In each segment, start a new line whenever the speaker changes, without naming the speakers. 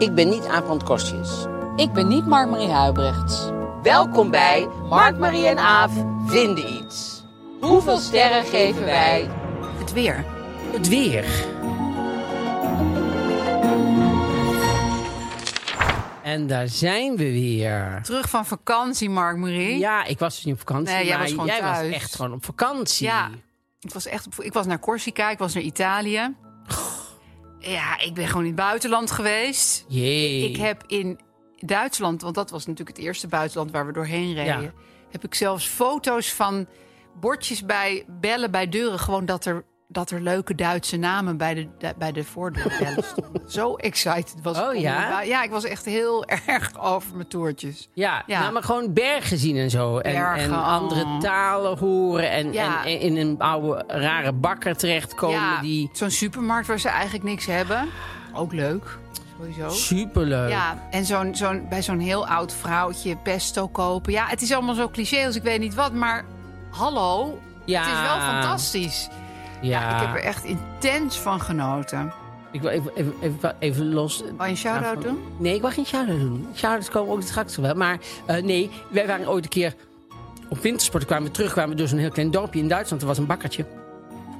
Ik ben niet Aaf van het Kostjes.
Ik ben niet Mark-Marie Huibrechts.
Welkom bij Mark, Marie en Aaf vinden iets. Hoeveel sterren geven wij?
Het weer.
Het weer.
En daar zijn we weer.
Terug van vakantie, Mark-Marie.
Ja, ik was dus niet op vakantie,
Nee, jij
maar
was gewoon
jij
thuis.
was echt gewoon op vakantie.
Ja, ik was echt op, ik was naar Corsica, ik was naar Italië. Ja, ik ben gewoon in het buitenland geweest.
Jee.
Ik heb in Duitsland, want dat was natuurlijk het eerste buitenland waar we doorheen reden,
Ja.
heb ik zelfs foto's van bordjes bij bellen bij deuren, gewoon dat er dat er leuke Duitse namen bij de, bij de voordeurbellen stonden. Zo excited was ik.
Oh,
om
ja?
de bui- Ja, ik was echt heel erg over mijn toertjes.
Ja,
Ja.
Nou, maar gewoon bergen zien en zo. En,
Bergen,
en
oh.
andere talen horen. En,
Ja.
en, en in een oude rare bakker terechtkomen
ja,
die...
zo'n supermarkt waar ze eigenlijk niks hebben. Ook leuk, sowieso.
Superleuk.
Ja, en zo'n, zo'n, bij zo'n heel oud vrouwtje pesto kopen. Ja, het is allemaal zo cliché als ik weet niet wat, maar hallo,
Ja.
het is wel fantastisch. Ja. ik heb er echt intens van genoten.
Ik wil even, even, even, even los.
Wil je een shout-out doen?
Nee, ik mag geen shout-out doen. Shout-outs komen ook straks wel. Maar eh, nee, wij waren ooit een keer op wintersport. kwamen we terug, kwamen we door zo'n heel klein dorpje in Duitsland. Er was een bakkertje.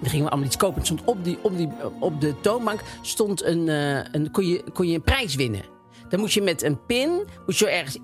Daar gingen we allemaal iets kopen. Er Stond op, die, op, die, op de toonbank stond een, eh, een, kon, je, kon je een prijs winnen. Dan moest je met een pin, moest je ergens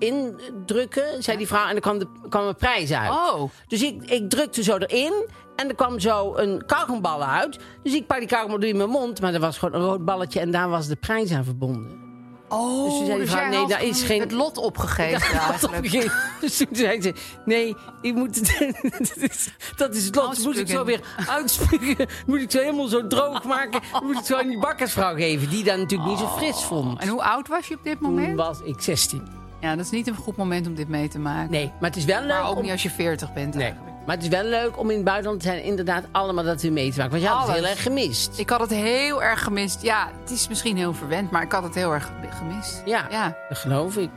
indrukken, zei die vrouw. En dan kwam, de, kwam een prijs uit.
Oh.
Dus ik, ik drukte zo erin. En er kwam zo een kauwgombal uit. Dus ik pak die kauwgombal in mijn mond. Maar er was gewoon een rood balletje. En daar was de prijs aan verbonden.
Oh,
Dus toen zei die vrouw,
jij
nee,
had
daar is
gewoon
geen-
Het lot
Ja,
opgegeven
dat op een
eigenlijk.
gegeven- Dus toen zei ze: Nee, ik moet het, dat is- dat is het lot. Dat Moet ik zo weer
Uitspugen.
uitspugen? Moet ik zo helemaal zo droog maken? Moet ik het zo aan die bakkersvrouw geven, die dat natuurlijk niet zo fris vond?
Oh. En hoe oud was je op dit
Toen
moment?
was ik 16.
Ja, dat is niet een goed moment om dit mee te maken.
Nee, maar het is wel
Maar
leuk.
ook
Om,
niet als je 40 bent.
nee,
eigenlijk.
maar het is wel leuk om in het buitenland te zijn, inderdaad, allemaal dat weer mee te maken. Want je had het
Alles.
heel erg gemist.
Ik had het heel erg gemist. Ja, het is misschien heel verwend, maar ik had het heel erg gemist.
ja, dat geloof ik.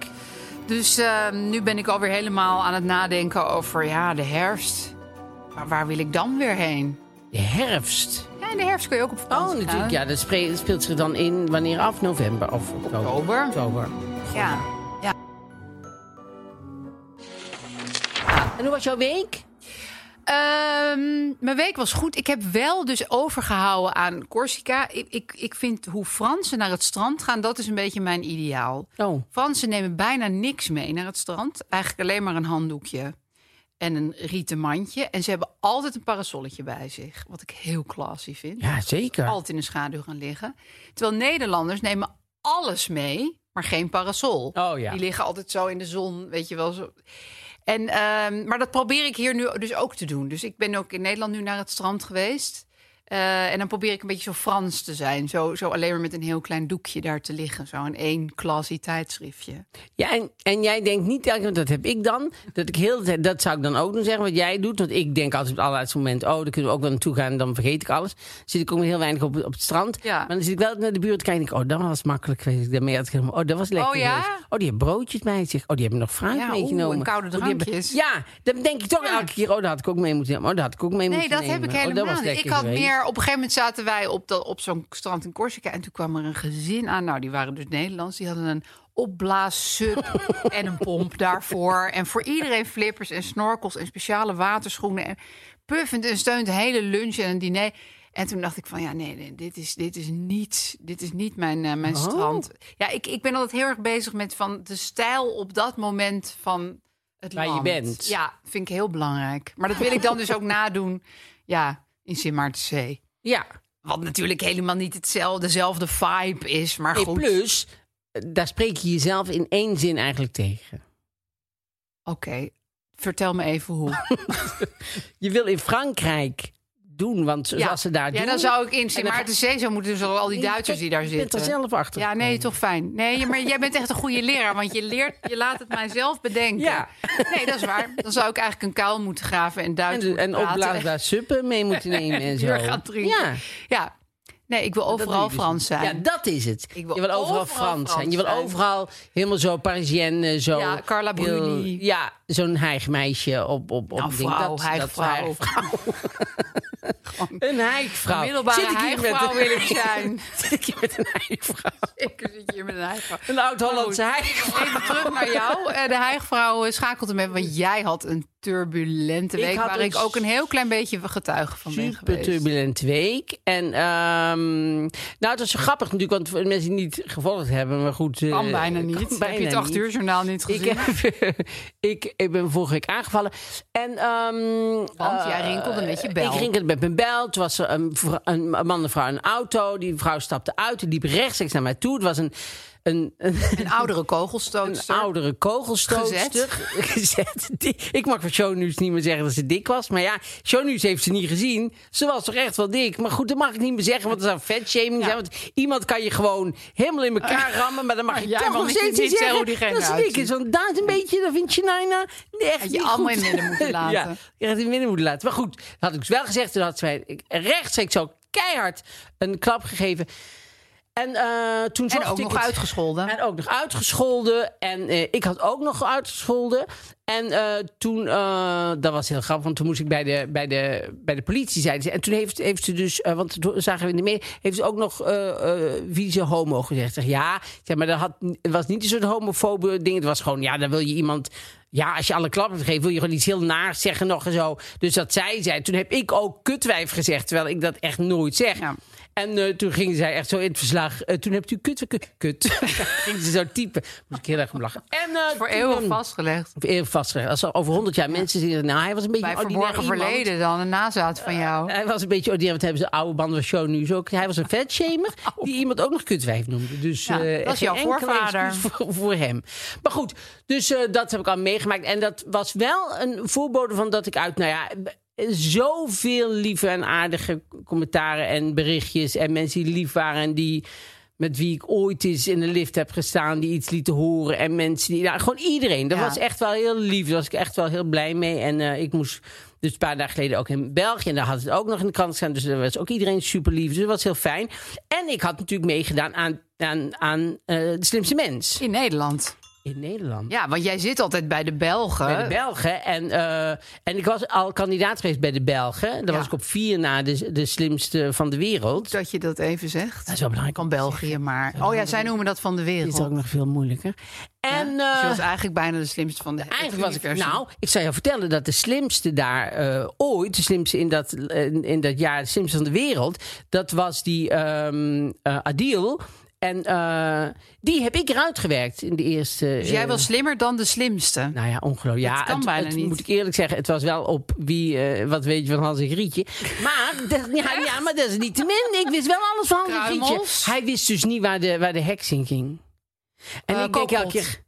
Dus eh, nu ben ik alweer helemaal aan het nadenken over ja, de herfst. Maar waar wil ik dan weer heen?
De herfst.
Ja, in de herfst kun je ook op vakantie
Oh, natuurlijk.
gaan.
Ja, dat spre- dat speelt zich dan in wanneer af november of oktober.
Oktober.
oktober.
Ja. ja.
En hoe was jouw week?
Ehm, mijn week was goed. Ik heb wel dus overgehouden aan Corsica. Ik, ik, ik vind hoe Fransen naar het strand gaan, dat is een beetje mijn ideaal.
Oh.
Fransen nemen bijna niks mee naar het strand. Eigenlijk alleen maar een handdoekje en een rieten mandje. En ze hebben altijd een parasolletje bij zich. Wat ik heel classy vind.
Ja, zeker.
altijd in de schaduw gaan liggen. Terwijl Nederlanders nemen alles mee, maar geen parasol.
Oh ja.
Die liggen altijd zo in de zon, weet je wel. Zo. En, ehm, maar dat probeer ik hier nu dus ook te doen. Dus ik ben ook in Nederland nu naar het strand geweest. Eh, en dan probeer ik een beetje zo Frans te zijn. Zo, zo alleen maar met een heel klein doekje daar te liggen. Zo in één classy tijdschriftje.
Ja, en, en jij denkt niet telkens, want dat heb ik dan. Dat, ik heel, de tijd- dat zou ik dan ook doen zeggen, wat jij doet. Want ik denk altijd op het allerlaatste moment... oh, daar kunnen we ook wel naartoe gaan en dan vergeet ik alles. Dan zit ik ook heel weinig op, op het strand.
Ja.
Maar dan zit ik wel naar de buurt te kijken en denk ik... oh, dat was makkelijk geweest. Daarmee had ik helemaal, oh, dat was lekker
Oh, ja?
geweest. Oh, die hebben broodjes bij zich. Oh, die hebben nog fruit
Ja, oeh,
meegenomen.
en koude
Oh, die hebben-
drankjes.
ja, dan denk ik toch elke keer... oh, dat had ik ook mee moeten nemen. Oh, dat had ik ook mee
Nee,
moeten
dat
nemen.
heb ik
Oh, dat
helemaal
was
niet.
lekker
Ik had
geweest.
meer... Op een gegeven moment zaten wij op, dat, op zo'n strand in Corsica... en toen kwam er een gezin aan. Nou, die waren dus Nederlands. Die hadden een opblaassup en een pomp daarvoor. En voor iedereen flippers en snorkels en speciale waterschoenen. En puffend en steunt de hele lunch en een diner. En toen dacht ik van, ja, nee, nee, dit, is, dit is niet, dit is niet mijn, eh, mijn
Oh.
strand. Ja, ik, ik ben altijd heel erg bezig met van de stijl op dat moment van het
Waar je
land.
bent.
Ja, vind ik heel belangrijk. Maar dat wil ik dan dus ook nadoen, ja, in Sint Maartenzee.
Ja.
Wat natuurlijk helemaal niet hetzelfde, dezelfde vibe is, maar
Nee,
goed.
plus, eh, daar spreek je jezelf in één zin eigenlijk tegen.
Oké, vertel me even hoe.
Je wil in Frankrijk doen, want zoals Dus ze daar
ja,
doen...
dan zou ik in
En
Sint
dan-
Maartenzee zou moeten, dus al die
Nee,
Duitsers
kijk,
die daar
je
zitten.
bent er zelf achter
Ja, nee,
gekomen.
toch fijn. Nee, maar jij bent echt een goede leraar, want je leert, je laat het mij zelf bedenken.
Ja.
Nee, dat is waar. Dan zou ik eigenlijk een kuil moeten graven en Duits
En, en
moeten praten.
opblaasbaar suppen mee moeten nemen en zo.
Bier gaan drinken.
Ja.
Ja. Nee, ik wil
Dat
overal
doe je dus
Frans
niet.
zijn.
Ja, dat is het.
Ik wil
je wil overal,
overal
Frans zijn.
Frans
Je wil
zijn.
overal helemaal zo Parisienne, zo...
Ja, Carla
heel-
Bruni.
ja, zo'n heigmeisje op... op, op
Nou,
ding.
vrouw,
dat,
hijgvrouw.
dat Een heigvrouw.
Middelbare
Zit ik hier met
hijgvrouw
een-
wil ik zijn.
Zit ik hier met een heigvrouw?
Ik zit hier met een eigen
Een oud-Hollandse heigvrouw.
Even terug naar jou. Eh, De heigvrouw eh, schakelt hem even, want jij had een turbulente
Ik
week...
had
waar
een
ik ook een heel klein beetje getuige van ben
Super
geweest.
turbulente week. En ehm, nou, het was grappig natuurlijk, want voor de mensen die niet gevolgd hebben, maar goed. eh,
Kan bijna niet. Heb je het acht
niet.
uur journaal niet gezien?
Ik, heb, ik, ik ben vorige week aangevallen. En, ehm,
Want jij
eh,
rinkelde met je bel.
Ik rinkelde met mijn bel. Toen was er een, vr- een, een man en een vrouw in een auto. Die vrouw stapte uit. Die liep rechtstreeks naar mij toe. Het was een, een, een,
Een oudere kogelstootster.
een oudere kogelstootster. Gezet. Die, ik mag van Shownieuws niet meer zeggen dat ze dik was. Maar ja, Shownieuws heeft ze niet gezien. Ze was toch echt wel dik. Maar goed, dat mag ik niet meer zeggen, want dat zou vetshaming zijn. Want iemand kan je gewoon helemaal in elkaar rammen. Maar dan mag
Maar
je
jij
toch
mag
nog
niet-
steeds
niet
niet
zeggen
zeggen
hoe diegene
dat ze dik is.
eruit
Want daar is een beetje, dat vindt Shinaina echt
Had je
niet
allemaal
goed.
in het midden moeten laten.
ja, je had het in het midden moeten laten. Maar goed, dat had ik wel gezegd. Toen had ze mij rechtstreeks zo keihard een klap gegeven. En eh, toen
En
zocht
ook
ik
nog
het-
uitgescholden.
en ook nog uitgescholden. En eh, ik had ook nog uitgescholden. En eh, toen, eh, dat was heel grappig, want toen moest ik bij de, bij de, bij de politie, zeiden ze. En toen heeft, heeft ze dus, eh, want dat zagen we in de media, heeft ze ook nog eh, eh, wie ze homo gezegd. Ik Zeg, ja, Ik zeg, maar dat had, het was niet een soort homofobe ding. Het was gewoon, ja, dan wil je iemand, ja, als je alle klappen geeft, wil je gewoon iets heel naars zeggen nog en zo. Dus dat zij zei, toen heb ik ook kutwijf gezegd, terwijl ik dat echt nooit zeg.
Ja.
En eh, toen ging zij echt zo in het verslag. eh, toen hebt u kut, kut, kut. ging ze zo typen. Moest ik heel erg om lachen. En, eh,
Voor
toen,
eeuwig
ehm,
vastgelegd.
Voor eeuwig vastgelegd. Als er over honderd jaar mensen zeggen... Nou, hij was een beetje
Bij
een ordinair
verborgen
iemand. Eh,
verleden dan, een nazaat van jou.
Hij was een beetje ordinair, want hebben ze oude banden van show nu ook. Hij was een vetshamer die iemand ook nog kutwijf noemde. Dus
Ja,
eh,
dat is
geen
jouw
enkele
voorvader.
excuus Voor, voor hem. Maar goed, dus eh, dat heb ik al meegemaakt. En dat was wel een voorbode van dat ik uit, nou ja, b- zoveel lieve en aardige commentaren en berichtjes en mensen die lief waren en die met wie ik ooit eens in de lift heb gestaan, die iets lieten horen. En mensen die. Nou, gewoon iedereen. Dat
Ja.
was echt wel heel lief. Daar was ik echt wel heel blij mee. En eh, ik moest dus een paar dagen geleden ook in België. En daar had het ook nog in de krant staan. Dus daar was ook iedereen super lief. Dus dat was heel fijn. En ik had natuurlijk meegedaan aan, aan, aan eh, de slimste mens
In Nederland.
in Nederland.
Ja, want jij zit altijd bij de Belgen.
Bij de Belgen. En, eh, en ik was al kandidaat geweest bij de Belgen. Daar
Ja.
was ik op vier na de, de slimste van de wereld.
Dat je dat even zegt.
Dat is wel belangrijk.
Van België, maar... Oh ja, zij noemen dat van de
Dit
wereld.
is ook nog veel moeilijker. En
Dus je
eh,
was eigenlijk bijna de slimste van de
Eigenlijk was ik.
universum.
Nou, ik zou je vertellen dat de slimste daar eh, ooit, de slimste in dat, eh, in dat jaar, de slimste van de wereld, dat was die ehm, eh, Adil. En eh, die heb ik eruit gewerkt in de eerste.
Dus jij
eh,
was slimmer dan de slimste.
nou ja, ongelooflijk. Ja,
Dat kan
het,
bijna
het-
niet.
Moet ik eerlijk zeggen, het was wel op wie, eh, wat weet je van Hans en Grietje. Maar, dat, ja, ja, maar dat is niet te min. Ik wist wel alles van Hans en Grietje.
Kruimels?
Hij wist dus niet waar de, waar de heks in ging. En
Eh,
ik denk elke
kookpot.
keer...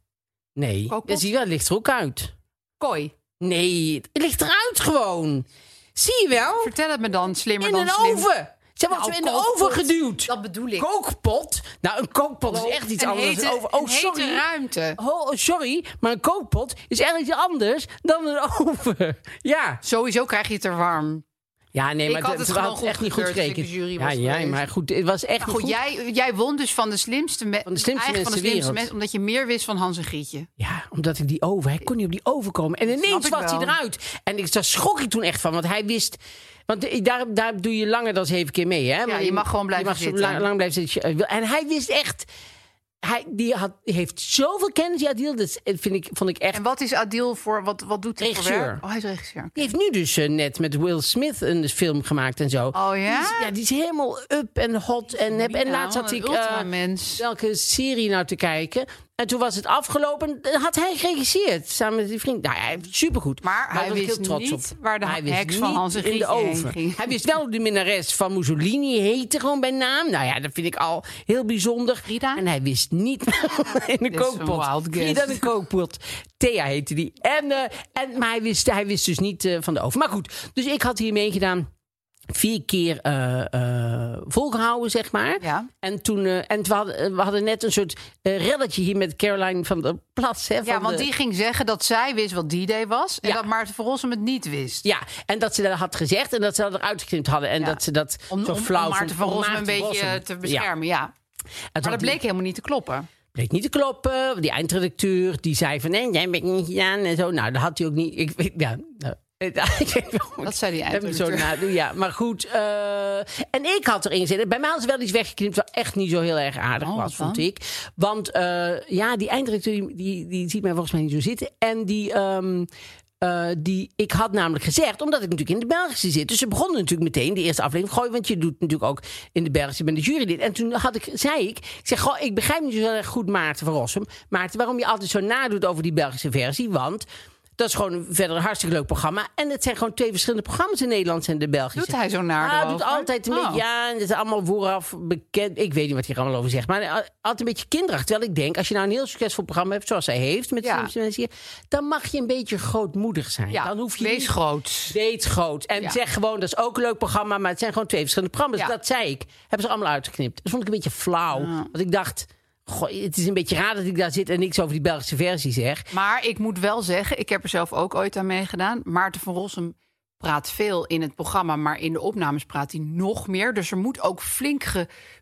Nee,
Kookpot?
dat zie je wel, het ligt er ook uit.
Kooi.
Nee, het ligt eruit gewoon. Zie je wel?
Vertel het me dan, slimmer
In
dan
een
slim.
oven. Ze hebben
Nou,
ze in de
kookpot,
oven geduwd.
Dat bedoel ik.
Kookpot? Nou, een kookpot
Hallo,
is echt iets
een
anders dan
hete-
een oven. Oh,
een hete
sorry.
ruimte.
Oh, sorry, maar een kookpot is echt iets anders dan een oven. Ja.
Sowieso krijg je het er warm.
Ja, nee,
Ik
maar
had
dat-
het
we
gewoon
hadden
goed
echt niet goed
gekeurd als ik
gekeken.
de jury
ja,
was
ja,
geweest.
maar goed, het was echt
Maar
niet
goed, jij, jij won dus van de slimste, me
Van de slimste
eigenlijk
mensen
van
ter
de slimste
wereld.
mensen, omdat je meer wist van Hans en Grietje.
Ja, omdat ik die over. Hij kon niet op die oven komen. En ineens
ik
was hij
wel.
eruit. En ik, daar schrok ik toen echt van. Want hij wist. Want eh, daar, daar doe je langer dan zeven keer mee. Hè?
je mag gewoon blijven
je eh, mag zo
zitten.
Lang, lang blijven zitten. als je wil. En hij wist echt. hij die had, die heeft zoveel kennis, die Adil. Dat is- vind ik, vond ik echt...
En wat is Adil voor, wat, wat doet hij voor
Regisseur.
werk? Oh, hij is regisseur.
Die heeft nu dus eh, net met Will Smith een film gemaakt en zo.
Oh ja?
Die is, ja, die is helemaal up en hot. En, heb, en
Ja,
laatst had
wat een
ik eh,
ultramens.
welke serie nou te kijken. En toen was het afgelopen. Dan had hij geregisseerd samen met die vriend. Nou, hij supergoed.
Maar
daar
hij
was ik
wist niet waar de
hij wist
heks van
niet
Hans en
in de
Grietje heen
oven.
ging.
Hij wist wel hoe de minnares van Mussolini heette gewoon bij naam. Nou ja, dat vind ik al heel bijzonder.
Frida?
En hij wist niet in de
Dit is een
kookpot.
wild guess.
Frida de kookpot. Thea heette die. En, eh, en, maar hij wist, hij wist dus niet eh, van de oven. Maar goed, dus ik had hier meegedaan. Vier keer eh, eh, volgehouden, zeg maar.
Ja.
En, toen, eh, en we, hadden, we hadden net een soort eh, relletje hier met Caroline van der Plas. Hè,
Ja,
van
want
de-
die ging zeggen dat zij wist wat D-Day was. En
Ja.
dat Maarten van Rossum het niet wist.
Ja, en dat ze dat had gezegd en dat ze dat eruit geknipt hadden. En
Ja.
dat ze dat
Om,
zo
om, om
flauw
Maarten
vond.
van
Om
Rossum een
Maarten
beetje
Rossum.
te
Ja.
beschermen, ja.
Het
Maar
had
dat bleek helemaal niet te kloppen.
bleek niet te kloppen. want Die eindredacteur die zei van nee, jij hebt het niet gedaan en zo. Nou, dat had hij ook niet. Ik weet, ja, nou, ik weet wel.
Dat zei die
Ik heb hem
eindredacteur.
Zo nadoen, ja, maar goed. eh, en ik had erin gezeten. Bij mij hadden ze wel iets weggeknipt wat echt niet zo heel erg aardig
Oh,
was,
wat dan?
vond ik. Want eh, ja, die eindredacteur die, die, die ziet mij volgens mij niet zo zitten. En die. ehm, eh, die, ik had namelijk gezegd, omdat ik natuurlijk in de Belgische zit. Dus ze begonnen natuurlijk meteen de eerste aflevering. Gooi, want je doet natuurlijk ook in de Belgische, je bent de jurylid. En toen had ik, zei ik, ik zeg, goh, ik begrijp niet zo heel erg goed Maarten van Rossum. Maarten, waarom je altijd zo nadoet over die Belgische versie? Want dat is gewoon verder een hartstikke leuk programma. En het zijn gewoon twee verschillende programma's in Nederland en de Belgische.
Doet hij zo naar
Ah,
erover?
doet altijd een
Oh.
beetje, ja, en het is allemaal vooraf bekend. Ik weet niet wat hij er allemaal over zegt, maar eh, altijd een beetje kinderachtig. Terwijl ik denk, als je nou een heel succesvol programma hebt, zoals hij heeft met
Ja.
soms mensen hier, dan mag je een beetje grootmoedig zijn.
Ja,
dan hoef je
wees
niet-
groot.
Wees groot. En
Ja.
zeg gewoon, dat is ook een leuk programma, maar het zijn gewoon twee verschillende programma's.
Ja.
Dat zei ik. Hebben ze er allemaal uitgeknipt. Dat vond ik een beetje flauw. Want ik dacht, goh, het is een beetje raar dat ik daar zit en niks over die Belgische versie zeg.
Maar ik moet wel zeggen, ik heb er zelf ook ooit aan meegedaan. Maarten van Rossum praat veel in het programma, maar in de opnames praat hij nog meer. Dus er moet ook flink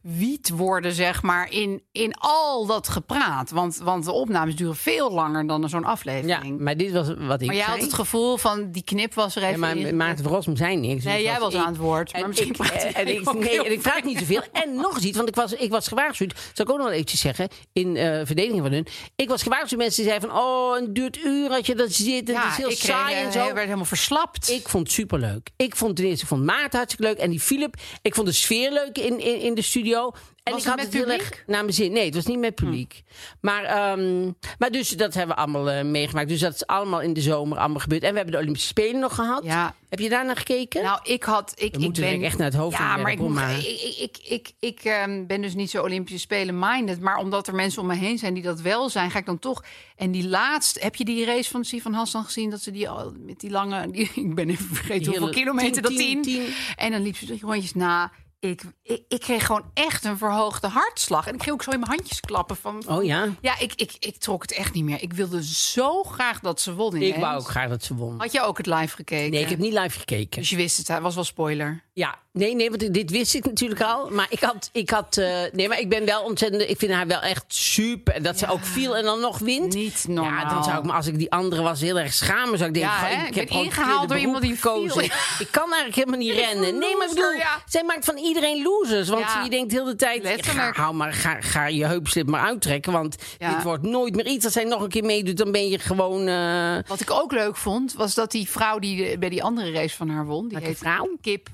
gewiet worden, zeg maar, in, in al dat gepraat. Want, want de opnames duren veel langer dan zo'n
Ja,
aflevering.
maar dit was wat ik
maar jij
zei.
had het gevoel van, die knip was er
Ja,
even
maar
in.
Maarten van Rossum zei niks.
Nee,
Dus
jij was
ik.
aan het woord, maar
En
misschien
ik,
praat
eh,
hij
en ik,
ook
nee,
heel
en ik praat niet zoveel. En nog eens iets, want ik was, ik was gewaarschuwd. Zal ik ook nog wel eventjes zeggen, in eh verdediging van hun. Ik was gewaarschuwd. Mensen zeiden van, oh, het duurt uren dat je dat zit. En het is heel
ik kreeg,
saai
eh,
en zo.
werd helemaal verslapt.
Ik vond het superleuk. Ik vond ten eerste ik vond Maarten hartstikke leuk. En die Philip. Ik vond de sfeer leuk in, in, in de studio. En ik
Was het
had
met
het heel erg
publiek? Hm.
naar mijn zin. Nee, het was niet met publiek. Maar, ehm, maar dus dat hebben we allemaal eh, meegemaakt. Dus dat is allemaal in de zomer allemaal gebeurd. En we hebben de Olympische Spelen nog gehad.
Ja.
Heb je daarnaar gekeken?
Nou, ik had. Ik,
We
ik
moeten
ben
direct echt naar het hoofd
Ja,
van
maar ik,
werken, hoor,
moet-
maar-
ik, ik, ik, ik, ik, ehm, ben dus niet zo Olympische Spelen minded. Maar omdat er mensen om me heen zijn die dat wel zijn, ga ik dan toch. En die laatst, heb je die race van Sivan Hassan gezien? Dat ze die al met die lange. Die, ik ben even vergeten
Die
hoeveel
hele
kilometer dat
10,
tien.
10.
En dan liep ze die rondjes na. Ik, ik, ik kreeg gewoon echt een verhoogde hartslag. En ik ging ook zo in mijn handjes klappen. Van,
Oh ja.
Ja, ik, ik, ik trok het echt niet meer. Ik wilde zo graag dat ze
Ik
won. ineens.
wou ook graag dat ze won.
Had je ook het live gekeken?
Nee, ik heb niet live gekeken.
Dus je wist het, het was wel spoiler.
Ja, nee, nee, want dit wist ik natuurlijk al. Maar ik had, ik had, eh, nee, maar ik ben wel ontzettend. Ik vind haar wel echt super. En Dat ze ook viel en dan nog wint.
Niet normaal.
Ja, dan zou ik me, als ik die andere was, heel erg schamen. Zou ik denken,
Ja,
goh,
hè?
ik,
Ik
heb
ben
gewoon het
ingehaald
verkeerde
door iemand
beroep
die viel.
gekozen. ik kan eigenlijk helemaal niet rennen. Nee, maar ik bedoel,
loser, ja.
zij maakt van iedereen losers. Want
Ja.
je denkt heel de tijd, ga,
Letterlijk.
hou maar, ga, ga je heupslip maar uittrekken. Want
Ja.
dit wordt nooit meer iets. Als zij nog een keer meedoet, dan ben je gewoon... eh,
Wat ik ook leuk vond, was dat die vrouw die eh, bij die andere race van haar won... Die
Welke
heet
vrouw?
Kip.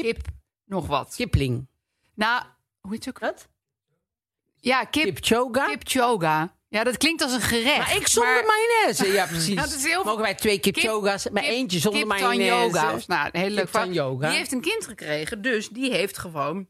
Kip. Nog wat.
Kipling.
Nou, hoe heet ze ook?
Wat?
Ja, Kip. Kip.
Kipchoga?
Choga. Ja, dat klinkt als een gerecht.
Maar ik zonder mayonaise. Ja, precies.
Ja, Nou, dat is heel veel-
Mogen wij twee kipchoga's, maar
Kip-
eentje zonder
Kip
mayonaise.
Tanyoga. Of, nou, een hele
Kip
leuke vrouw.
Tanyoga.
Die heeft een kind gekregen, dus die heeft gewoon...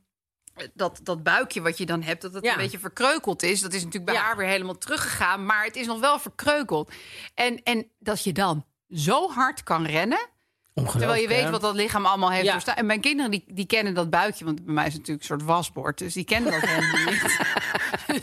eh, Dat, dat buikje wat je dan hebt, dat het
Ja.
een beetje verkreukeld is. Dat is natuurlijk bij
Ja.
haar weer helemaal teruggegaan. Maar het is nog wel verkreukeld. En, en dat je dan zo hard kan rennen... Terwijl je
Ongelooflijk,
weet
hè?
wat dat lichaam allemaal heeft
Ja.
doorstaan. En mijn kinderen die, die kennen dat buikje, want bij mij is het natuurlijk een soort wasbord. Dus die kennen dat helemaal niet.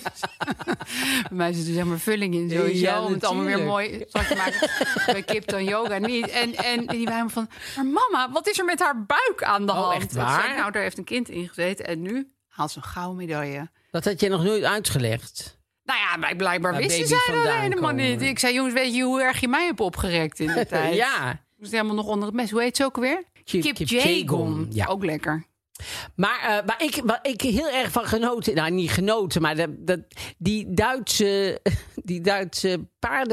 bij mij zit er zeg maar vulling in sowieso.
Ja,
om het allemaal weer
natuurlijk.
mooi zwart te maken. bij Kip dan yoga niet. En, en die bij me van, maar mama, wat is er met haar buik aan de
Oh,
hand?
echt
Ik zei,
waar?
nou, daar heeft een kind in gezeten. En nu haalt ze een gouden medaille.
Dat had je nog nooit uitgelegd.
Nou ja, maar blijkbaar
Waar
wisten
baby's
zij dat
vandaan
helemaal
komen.
niet. Ik zei, jongens, weet je hoe erg je mij hebt opgerekt in de tijd?
Ja.
moest helemaal nog onder het mes. Hoe heet ze ook weer?
Kip-
Kip
Kipchegum, ja.
Ook lekker.
Maar eh, waar, ik, waar ik heel erg van genoten, nou niet genoten, maar dat, dat, die, Duitse, die Duitse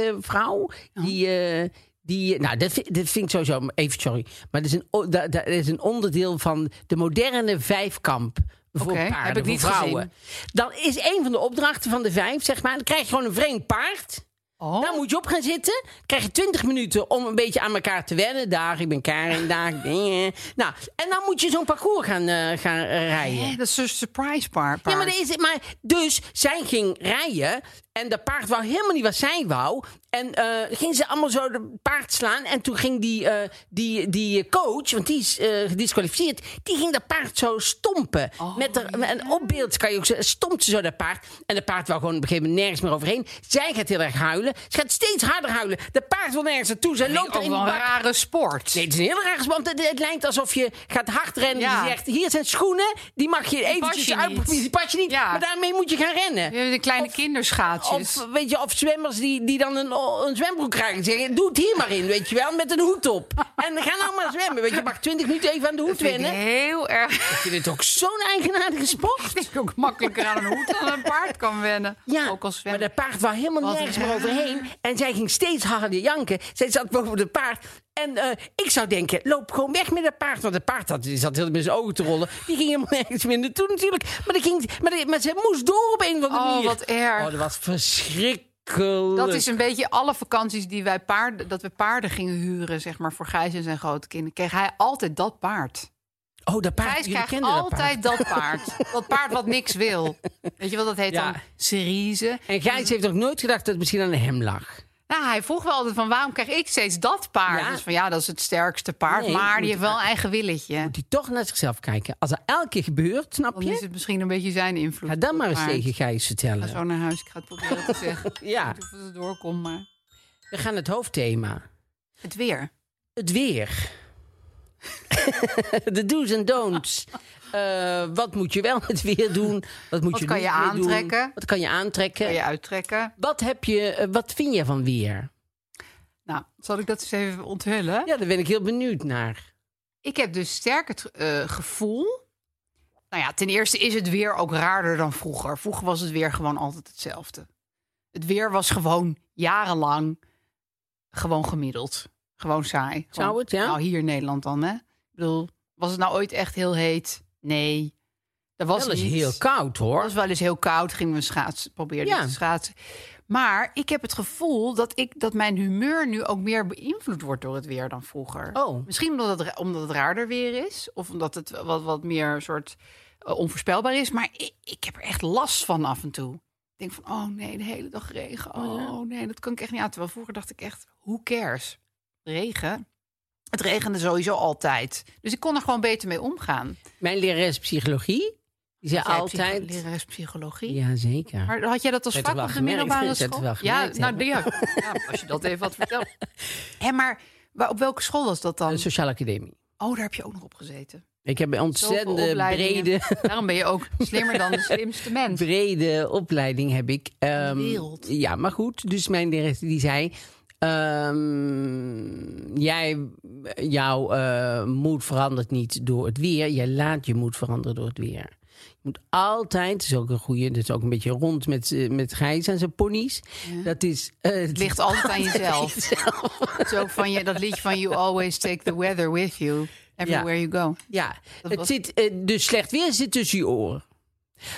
paardenvrouw, die, eh, die, nou dat vind, dat vind ik sowieso, even sorry, maar dat is, een, o- dat, dat is een onderdeel van de moderne vijfkamp. Voor
Oké, heb
paarden,
ik
voor
niet
vrouwen. Dan is een van de opdrachten van de vijf, zeg maar, dan krijg je gewoon een vreemd paard.
Oh.
Daar Nou, moet je op gaan zitten. Krijg je 20 minuten om een beetje aan elkaar te wennen. Daar, ik ben Karin, daar, ik ben je. Nou, en dan moet je zo'n parcours gaan, eh, gaan eh, rijden.
Hè, dat is een surprise paar.
Ja, maar, dat is, het- maar dus zij ging rijden en dat paard wou helemaal niet wat zij wou. En eh ging ze allemaal zo de paard slaan. En toen ging die, eh, die, die coach, want die is eh, gedisqualificeerd, die ging dat paard zo stompen.
Oh,
met haar- met een opbeeld kan je ook zeggen, stompt ze zo dat paard. En dat paard wou gewoon op een gegeven moment nergens meer overheen. Zij gaat heel erg huilen. Ze gaat steeds harder huilen. Dat paard wil nergens naartoe. Zij loopt er
ook
in
wel
die
een
bak.
rare sport.
Nee, het is een heel raar want het, het lijkt alsof je gaat hardrennen.
Ja.
Je zegt, hier zijn schoenen, die mag je
pas
eventjes
je
uitproberen.
niet.
Die pas je niet,
Ja.
maar daarmee moet je gaan rennen.
Je hebt de kleine kinderschaatsjes.
Of, weet je, of zwemmers die, die dan een, een zwembroek krijgen. en Zeggen, doe het hier maar in, weet je wel, met een hoed op. En dan gaan allemaal zwemmen. Weet je, mag 20 minuten even aan de hoed
Dat vind ik
wennen. Ik
heel erg.
vind het ook zo'n eigenaardige sport.
Ik ook makkelijker aan een hoed dan een paard kan wennen. ook als
maar
zwemmen.
dat paard wou helemaal
Wat
nergens meer
raar.
overheen. En zij ging steeds harder janken. Zij zat boven de paard. En eh, ik zou denken, loop gewoon weg met dat paard. Want het paard had, die zat heel met zijn ogen te rollen. Die ging helemaal nergens meer naartoe natuurlijk. Maar, die ging, maar, die- maar ze moest door op een of andere
Oh,
manier.
wat erg.
Oh, dat was verschrikkelijk.
Dat is een beetje alle vakanties die wij paarden, dat we paarden gingen huren, zeg maar, voor Gijs en zijn grote kinderen, kreeg hij altijd dat paard.
Oh, dat paard.
Gijs
Jullie
krijgt
kenden dat paard.
altijd dat paard. dat paard. wat niks wil. Weet je wel, dat heet
Ja.
dan cerise.
En Gijs heeft nog nooit gedacht dat het misschien aan hem lag.
Nou, hij vroeg wel altijd van, waarom krijg ik steeds dat paard?
Ja.
Dus van, ja, dat is het sterkste paard,
Nee,
maar
moet
die heeft wel een eigen willetje.
Moet hij toch naar zichzelf kijken. Als dat elke keer gebeurt, snap
Dan is
je?
het misschien een beetje zijn invloed.
Ga
op
dan
het
maar eens
paard.
tegen Gijs
Ik ga
vertellen.
zo naar huis, ik ga het proberen te zeggen.
Ja,
Ik weet niet of het er doorkomt, maar...
we gaan het hoofdthema.
Het weer.
Het weer. De do's en don'ts. Eh, wat moet je wel met weer doen? Wat, moet
Wat
je
kan
niet
je
meer doen?
aantrekken?
Wat kan je aantrekken?
Kan je uittrekken?
Wat, heb je, eh, wat vind je van weer?
Nou, zal ik dat eens even onthullen?
Ja, daar ben ik heel benieuwd naar.
Ik heb dus sterk het eh, gevoel. Nou ja, ten eerste is het weer ook raarder dan vroeger. Vroeger was het weer gewoon altijd hetzelfde. Het weer was gewoon jarenlang gewoon gemiddeld. Gewoon saai.
Zou
Gewoon-
het, ja?
Nou, hier in Nederland dan, hè? Ik bedoel, was het nou ooit echt heel heet? Nee. Dat was
Wel eens
niet.
heel koud hoor.
Het was wel eens heel koud, gingen we schaatsen, probeerden
Ja.
te schaatsen. Maar ik heb het gevoel dat, ik, dat mijn humeur nu ook meer beïnvloed wordt door het weer dan vroeger.
Oh.
Misschien omdat het, ra- omdat het raarder weer is. Of omdat het wat, wat meer soort eh, onvoorspelbaar is. Maar ik, ik heb er echt last van af en toe. Ik denk van, oh nee, de hele dag regen. Oh nee, dat kan ik echt niet aan. Terwijl vroeger dacht ik echt, hoe cares? Regen? Het regende sowieso altijd. Dus ik kon er gewoon beter mee omgaan.
Mijn lerares psychologie. Die zei
Zij
altijd...
psycho- lerares psychologie.
Ja, zeker.
Maar had jij dat als
Werd
vak
er wel
op de
gemerkt,
middelbare
werd er
school?
wel
ja,
gemerkt,
nou, die- ja, ja, als je dat even had verteld. Hé, maar waar- op welke school was dat dan?
De sociale academie.
Oh, daar heb je ook nog op gezeten.
Ik heb een
Zoveel
ontzettende
opleidingen.
brede,
Daarom ben je ook slimmer dan de slimste mens.
brede opleiding heb ik. Ehm,
wereld.
Ja, maar goed. Dus mijn lerares die zei... ehm, jij, jouw eh, moed verandert niet door het weer. Jij laat je moed veranderen door het weer. Je moet altijd, dat is ook een goeie, dat is ook een beetje rond met, eh, met Gijs en zijn ponies. Dat is... eh,
Het ligt altijd aan jezelf. Het is ook van je, dat liedje van You always take the weather with you. Everywhere you go.
Ja, het
was-
zit, eh, dus slecht weer zit tussen je oren.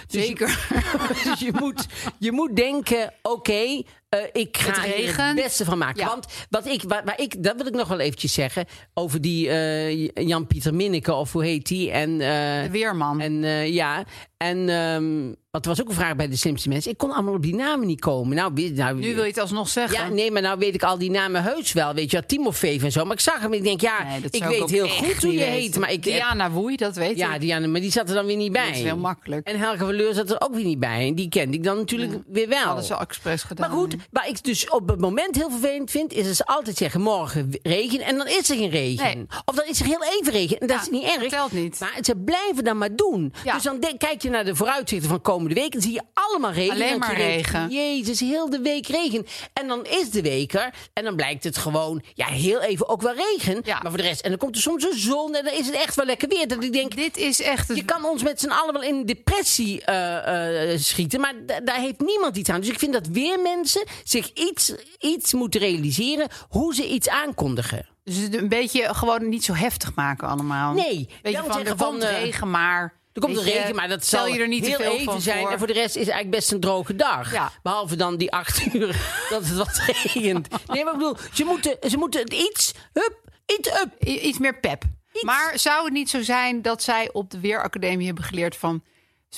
Dus
Zeker.
Je, dus je moet, je moet denken, oké, eh, ik ga
Het
er het
regent.
beste van maken.
Ja.
Want wat ik, waar, waar ik, dat wil ik nog wel eventjes zeggen over die eh, Jan-Pieter Minneke, of hoe heet die? En, eh,
De weerman.
en eh, ja, en ehm, want er was ook een vraag bij de slimste mensen. Ik kon allemaal op die namen niet komen. Nou, wie- nou,
nu wil je het alsnog zeggen.
ja, nee, maar nou weet ik al die namen heus wel. Weet je wat, Timofeef en zo. Maar ik zag hem en ik denk, ja,
Nee, dat
ik
zou
weet
ook
heel
echt
goed hoe
niet
je
weten.
heet. Maar ik,
Diana Woei, dat weet
ja,
ik.
Diana, maar die zat er dan weer niet bij.
Dat is heel makkelijk.
En Helge Verleur zat er ook weer niet bij. En die kende ik dan natuurlijk weer wel.
Hadden ze expres gedaan.
maar goed, Waar ik dus op het moment heel vervelend vind, is dat ze altijd zeggen morgen regen en dan is er geen regen.
Nee.
Of dan is er heel even regen en dat
Ja,
is niet erg.
telt niet.
Maar ze blijven dan maar doen.
Ja.
Dus dan denk- kijk je naar de vooruitzichten van komende week en zie je allemaal regen.
Alleen
En dan
maar
denk je,
regen.
Jezus, heel de week regen. En dan is de week er en dan blijkt het gewoon, ja, heel even ook wel regen.
Ja.
Maar voor de rest, en dan komt er soms een zon en dan is het echt wel lekker weer. Dat ik denk,
Dit is echt het
je kan ons met z'n allen wel in depressie eh, eh, schieten, maar da- daar heeft niemand iets aan. Dus ik vind dat weer mensen zich iets, iets moeten realiseren hoe ze iets aankondigen.
Dus het een beetje gewoon niet zo heftig maken allemaal.
Nee,
Weet je,
daarom
van, er
zeggen van,
komt
eh,
regen, maar...
Er komt een
weet je,
regen, maar dat
stel
zal
je er niet te
heel
veel
even
van
zijn.
voor.
En voor de rest is het eigenlijk best een droge dag.
Ja.
Behalve dan die acht uur dat het wat regent. Nee, maar ik bedoel, ze moeten, ze moeten het iets, hup, iets up.
I- Iets meer pep. Maar zou het niet zo zijn dat zij op de Weeracademie hebben geleerd van...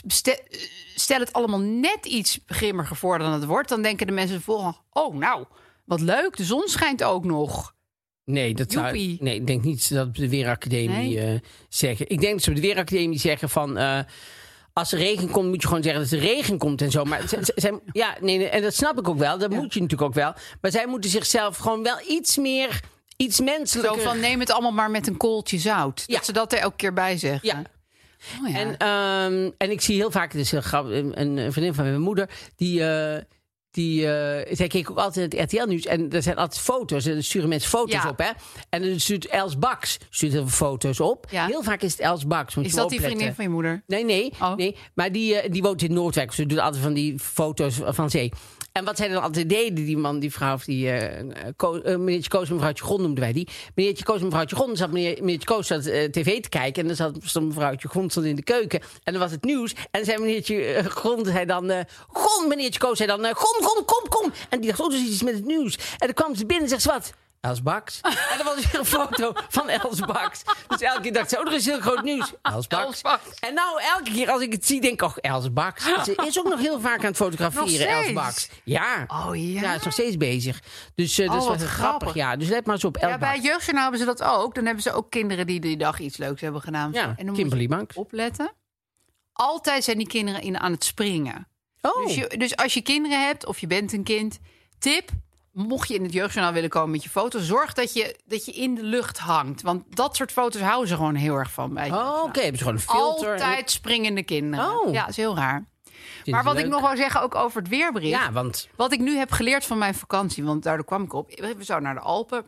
ste- Stel het allemaal net iets grimmiger voor dan het wordt. Dan denken de mensen de volgende... Oh, nou, wat leuk, de zon schijnt ook nog.
Nee, dat zou,
Joepie.
nee, ik denk niet dat op de Weeracademie
Nee?
eh, zeggen. Ik denk dat ze op de Weeracademie zeggen van. eh, als er regen komt, moet je gewoon zeggen dat er regen komt en zo. Maar ze- ze- zij- ja, nee, nee, en dat snap ik ook wel. Dat moet je natuurlijk ook wel. Maar zij moeten zichzelf gewoon wel iets meer, iets
Zo
menselijker.
van, neem het allemaal maar met een kooltje zout.
Ja.
Dat ze dat er elke keer bij zeggen.
ja.
Oh, ja.
En, ehm, en ik zie heel vaak, dus heel grappig, een, een- een vriendin van mijn moeder, die, eh, die eh, zij keek ook altijd het RTL-nieuws. En er zijn altijd foto's, en er sturen mensen foto's
Ja.
op, hè? En dan stuurt Els Baks stuurt heel veel foto's op.
Ja.
Heel vaak is het Els Baks. moet
is
je
dat
wel
die
opletten.
vriendin van je moeder?
Nee, nee,
Oh.
nee. Maar die, eh, die woont in Noordwijk. Ze doet altijd van die foto's van zee. En wat zij dan altijd deden, die man, die vrouw of die... eh, Ko- eh, meneertje Koos en mevrouwtje Grond noemden wij die. Meneertje Koos en mevrouwtje Grond. Dan zat meneer, meneertje Koos zat, eh, tv te kijken. En dan zat stond mevrouwtje Grond stond in de keuken. En dan was het nieuws. En zei meneertje eh, Grond, zei dan... eh Grond, meneertje Koos, zei dan... eh Grond, Grond, kom, kom. En die dacht, oh, er is iets met het nieuws. En dan kwam ze binnen en zegt ze wat... Els Baks. En dan was er weer een foto van Els Baks. Dus elke keer dacht ze, oh, er is heel groot nieuws. Els Baks.
Els Baks.
En nou, elke keer als ik het zie, denk ik, oh, Els Baks. Ze is ook nog heel vaak aan het
Nog
fotograferen,
steeds?
Els Baks. Ja.
Oh, ja.
is nog steeds bezig. Dus eh, dat is
Oh,
wel
wat
grappig.
grappig.
Ja, dus let maar eens op Els
Ja, bij het jeugdjournaal hebben ze dat ook. Dan hebben ze ook kinderen die die dag iets leuks hebben gedaan.
Ja,
en dan
Kimberly
moet je
Mank.
opletten. Altijd zijn die kinderen in, aan het springen.
Oh,
Dus, je, dus als je kinderen hebt of je bent een kind, tip. Mocht je in het jeugdjournaal willen komen met je foto, zorg dat je, dat je in de lucht hangt. Want dat soort foto's houden ze gewoon heel erg van. Bij het
oh oké.
jeugdjournaal.
Hebben ze gewoon een filter. en-
Altijd springende kinderen.
Oh.
Ja, is heel raar.
Vind je
Maar wat
leuk?
ik nog wou zeggen, ook over het weerbericht.
Ja, want...
Wat ik nu heb geleerd van mijn vakantie, want daardoor kwam ik op. We zouden naar de Alpen.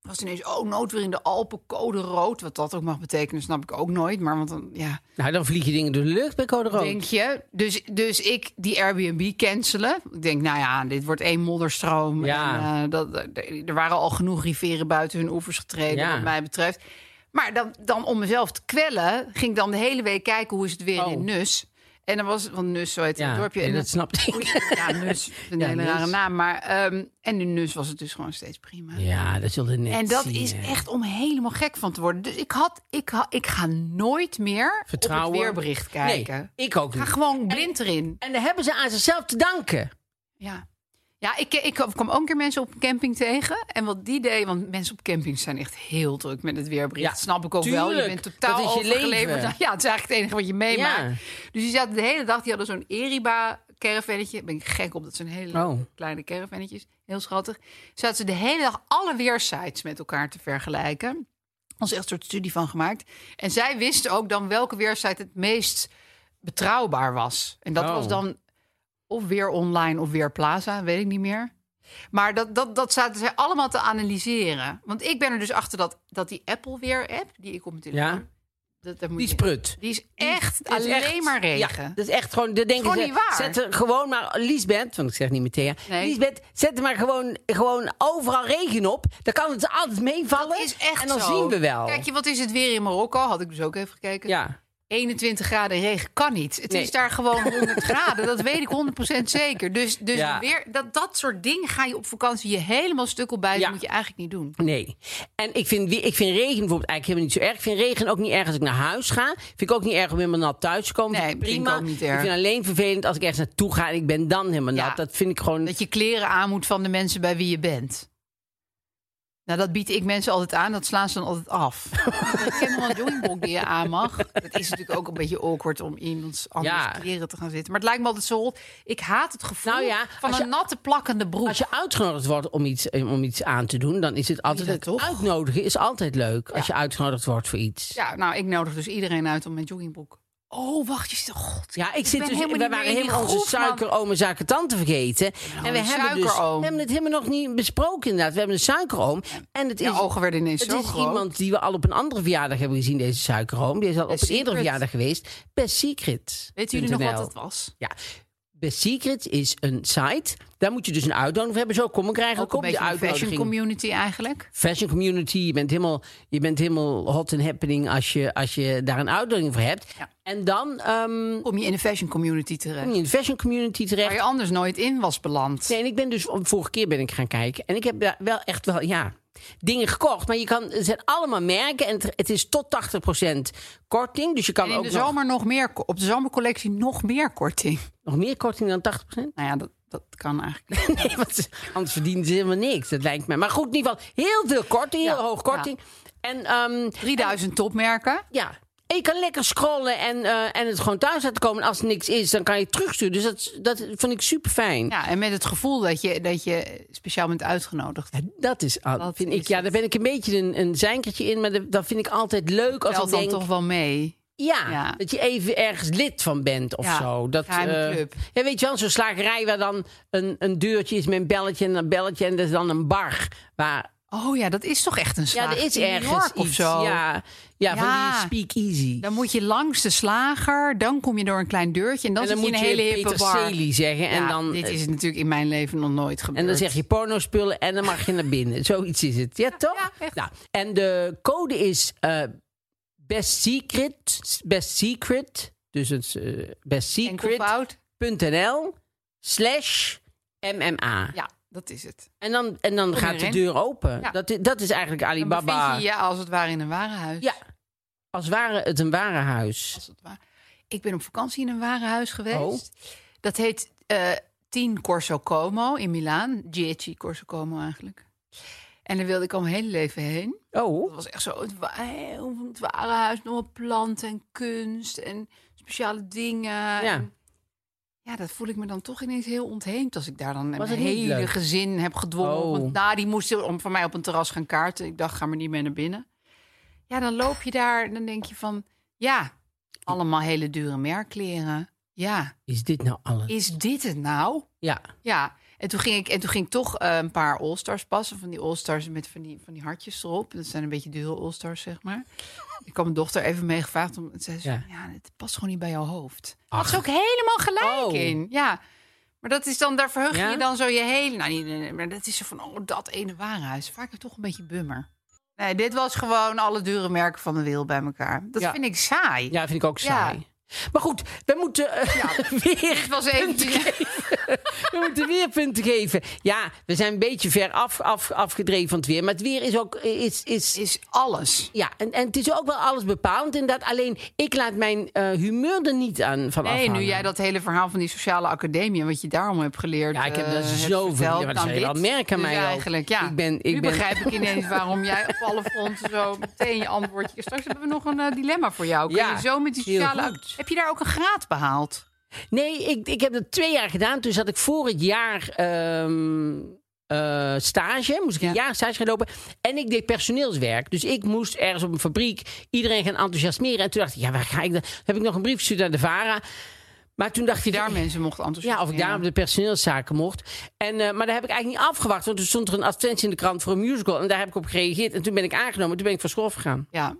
Was ineens, oh, noodweer in de Alpen, code rood. Wat dat ook mag betekenen, snap ik ook nooit. Maar want dan, ja,
Nou, dan vlieg je dingen door de lucht bij Code Rood.
denk je. Dus, dus ik die Airbnb cancelen. Ik denk, nou ja, dit wordt één modderstroom.
Ja.
En, eh, dat, eh, er waren al genoeg rivieren buiten hun oevers getreden,
Ja.
wat mij betreft. Maar dan, dan om mezelf te kwellen, ging ik dan de hele week kijken hoe is het weer
Oh.
in Nus. En dan was, want Nus, zo heet
Ja,
het dorpje.
nee,
En
dat snapte ik.
ja, Nus. Een
Ja,
hele
Nus.
rare naam. Maar, ehm, en in Nus was het dus gewoon steeds prima.
Ja, dat zullen net
en dat
zien,
is
hè.
echt om helemaal gek van te worden. Dus ik, had, ik, ha- ik ga nooit meer
Vertrouwen.
op het weerbericht kijken.
Nee, ik ook
Ik ga
niet.
gewoon blind erin.
En daar hebben ze aan zichzelf te danken.
Ja. Ja, ik, ik kwam ook een keer mensen op een camping tegen. En wat die deed, want mensen op campings zijn echt heel druk met het weerbericht.
Ja,
dat snap ik ook wel. Je
tuurlijk.
bent totaal
Dat is je
overgeleverd.
leven.
aan- Ja, het is eigenlijk het enige wat je meemaakt. Dus die zaten de hele dag, die hadden zo'n Eriba caravannetje. Ben ik gek op, dat zijn hele
Oh.
kleine caravannetjes. Heel schattig. Zaten ze de hele dag alle weersites met elkaar te vergelijken. Ons echt een soort studie van gemaakt. En zij wisten ook dan welke weersite het meest betrouwbaar was. En dat
Oh.
was dan of weer online of weer Plaza, weet ik niet meer. Maar dat, dat, dat zaten zij allemaal te analyseren. Want ik ben er dus achter dat, dat die Apple weer app, die ik op mijn telefoon...
Ja.
Dat, dat moet
Die
je-
sprut.
Die is echt
Het is
alleen
echt-
maar regen.
Ja, dat is echt gewoon. Dat denk
gewoon
ik,
niet waar.
Zet er gewoon maar Liesbeth, want ik zeg niet Matthea.
Nee.
Liesbeth, zet er maar gewoon, gewoon overal regen op. Dan kan het altijd meevallen.
Dat is echt
En dan
zo.
zien we wel.
Kijk je, wat is het weer in Marokko? Had ik dus ook even gekeken.
ja.
21 graden regen kan niet. Het
Nee.
is daar gewoon 100 graden. Dat weet ik 100% zeker. Dus, dus
Ja.
weer, dat, dat soort dingen ga je op vakantie je helemaal stuk op bij.
Ja.
Dat moet je eigenlijk niet doen.
Nee. En ik vind, wie- ik vind regen bijvoorbeeld eigenlijk helemaal niet zo erg. Ik vind regen ook niet erg als ik naar huis ga. Vind ik ook niet erg om helemaal nat thuis te komen.
Nee,
Vind ik
vind ik
prima.
ook niet erg.
Ik vind alleen vervelend als ik ergens naartoe ga en ik ben dan helemaal
Ja.
nat. Dat vind ik gewoon.
Dat je kleren aan moet van de mensen bij wie je bent. Nou, dat bied ik mensen altijd aan. Dat slaan ze dan altijd af. Ik heb wel een joingbok die je aan mag. Dat is natuurlijk ook een beetje awkward om iemands anders
Ja.
kleren te gaan zitten. Maar het lijkt me altijd zo rot. Ik haat het gevoel
Nou ja,
van
als
een
je-
natte plakkende broek.
Als je uitgenodigd wordt om iets, eh, om iets aan te doen, dan is het altijd
dat
leuk.
toch?
Uitnodigen is altijd leuk als je uitgenodigd wordt voor iets.
Ja, nou, ik nodig dus iedereen uit om mijn joggingbroek. Oh, wacht, je zit... God,
Ja, ik zit
ben
dus,
helemaal
we
niet
waren
meer in die
helemaal onze
groep, man.
suikerome zakentant te vergeten. en we
een
hebben, dus, we
suikeroom.
hebben het helemaal nog niet besproken inderdaad. We hebben een suikeroom. En het is,
Mijn ogen werden ineens
het
zo
is
groot.
iemand die we al op een andere verjaardag hebben gezien, deze suikeroom. Die is al op
Best
een eerdere
Secret.
verjaardag geweest. Best Secret.
Weten jullie nog wat het was?
Ja. Best Secret is een site. Daar moet je dus een uitnodiging voor hebben. Zo kom ik er
Ook
eigenlijk
een
op.
beetje
de
een fashion
uitnodiging.
community eigenlijk.
fashion community. Je bent helemaal, je bent helemaal hot and happening als je, als je daar een uitdaging voor hebt.
Ja.
En dan ehm,
Kom je in de fashion community terecht.
kom je in de fashion community
Waar
terecht.
je anders nooit in was beland.
Hm, Nee, en ik ben dus vorige keer ben ik gaan kijken en ik heb daar wel echt wel ja dingen gekocht, maar je kan het zijn allemaal merken en het, het is tot 80% korting, dus je kan
En in
ook
de
nog,
zomer nog meer, ko- op de zomercollectie nog meer korting.
nog meer korting dan 80%.
Nou ja, dat, dat kan eigenlijk. niet.
Nee, want anders verdienen ze helemaal niks. Dat lijkt mij. Maar goed, in ieder geval heel veel korting, heel
Ja,
hoog korting. En ehm,
3000 topmerken.
Ja. En je kan lekker scrollen en, eh, en het gewoon thuis laten komen. En Als er niks is, dan kan je het terugsturen. Dus dat, dat vond ik super fijn.
Ja, en met het gevoel dat je, dat je speciaal bent uitgenodigd.
Dat is, al-
Dat
vind
is
ik, ja, daar
het.
ben ik een beetje een, een zijnkertje in. Maar dat, dat vind ik altijd leuk als
Telt
ik
dan
denk...
toch wel mee.
Ja,
Ja.
dat je even ergens lid van bent of
Ja,
zo. Dat,
geheime
eh,
club.
Ja, weet je wel, zo'n slagerij waar dan een, een deurtje is met een belletje en een belletje. En dat is dan een bar. Waar,
Oh ja, dat is toch echt een
ja,
slager.
er is
in New
ergens
York
iets.
of
Ja,
zo.
ja,
Ja.
van die speakeasy.
Dan moet je langs de slager, dan kom je door een klein deurtje en dan,
en dan
zit je
moet
in een hele
je
hippe bar.
Peterselie zeggen. En
Ja,
dan, eh,
dit is natuurlijk in mijn leven nog nooit gebeurd.
En dan zeg je pornospullen en dan mag je naar binnen. Zoiets is het. Ja, toch?
ja, echt.
nou, en de code is eh, best secret. Best secret. Dus het is eh,
Enkelvoud.
bestsecret.nl slash MMA.
Ja, dat is het.
En dan, en dan gaat de
erin.
deur open.
Ja.
Dat, i- dat is eigenlijk
Dan
Alibaba.
bevind je je als het ware in een warenhuis.
Ja. Als ware het een ware huis.
Als het ware. Ik ben op vakantie in een warenhuis geweest.
Oh.
Dat heet eh 10 Corso Como in Milaan. Gieci Corso Como eigenlijk. En daar wilde ik al mijn hele leven heen.
Oh,
Dat was echt zo het, wa- heel- het warenhuis. Nog wel planten en kunst en speciale dingen.
ja.
En ja, dat voel ik me dan toch ineens heel ontheemd... als ik daar dan mijn
Was het niet
hele
leuk?
gezin heb gedwongen.
Oh.
Want nou, die moesten om van mij op een terras gaan kaarten. Ik dacht, ga maar niet mee naar binnen. Ja, dan loop je daar en dan denk je van... ja, allemaal hele dure merkkleren. Ja,
Is dit nou alles?
is dit het nou?
Ja.
Ja, en toen ging ik, en toen ging ik toch eh, een paar All-Stars passen. Van die All-Stars met van die, van die hartjes erop. Dat zijn een beetje dure All-Stars, zeg maar. Ik had mijn dochter even meegevraagd. Om, en zei ze,
Ja.
ja. het past gewoon niet bij jouw hoofd.
Ach.
Had ze ook helemaal gelijk
Oh.
in. Ja, maar dat is dan, daar verheug je
Ja?
je dan zo je hele... Nou, niet, nee, nee, maar dat is zo van, oh, dat ene warenhuis. Vaak toch een beetje bummer. Nee, dit was gewoon alle dure merken van de wereld bij elkaar. Dat
Ja.
vind ik saai.
Ja, vind ik ook
Ja.
saai. Maar goed, we moeten eh, weer
Dit was even...
We moeten weer punten geven. Ja, we zijn een beetje ver af, af, afgedreven van het weer. Maar het weer is ook. Is, is,
is alles.
ja, en, en het is ook wel alles bepalend inderdaad. Alleen ik laat mijn eh, humeur er niet aan van
Nee, nu
afhangen.
jij dat hele verhaal van die sociale academie en wat je daarom hebt geleerd.
Ja, ik heb
eh,
daar
hebt
zoveel
verteld,
geleerd, maar dat
dan
zou je wel
dit.
merken aan
Dus
mij ook.
eigenlijk, ja.
Ik ben- ik
nu
ben-
begrijp ik ineens waarom jij op alle fronten zo meteen je antwoordje. Straks hebben we nog een eh, dilemma voor jou. Kun
Ja,
je zo met die
heel
sociale.
goed.
Heb je daar ook een graad behaald?
Nee, ik, ik heb dat twee jaar gedaan. Toen zat ik voor het jaar ehm, eh, stage. Moest ik een
Ja.
jaar stage gaan lopen. En ik deed personeelswerk. Dus ik moest ergens op een fabriek iedereen gaan enthousiasmeren. En toen dacht ik, ja, waar ga ik dan? Toen heb ik nog een brief gestuurd naar de VARA. Maar toen dacht
Die
ik...
daar mensen mochten enthousiast
Ja, of ik daar op de personeelszaken mocht. En, eh, maar daar heb ik eigenlijk niet afgewacht. Want toen stond er een advertentie in de krant voor een musical. En daar heb ik op gereageerd. En toen ben ik aangenomen. Toen ben ik van school gegaan.
Ja,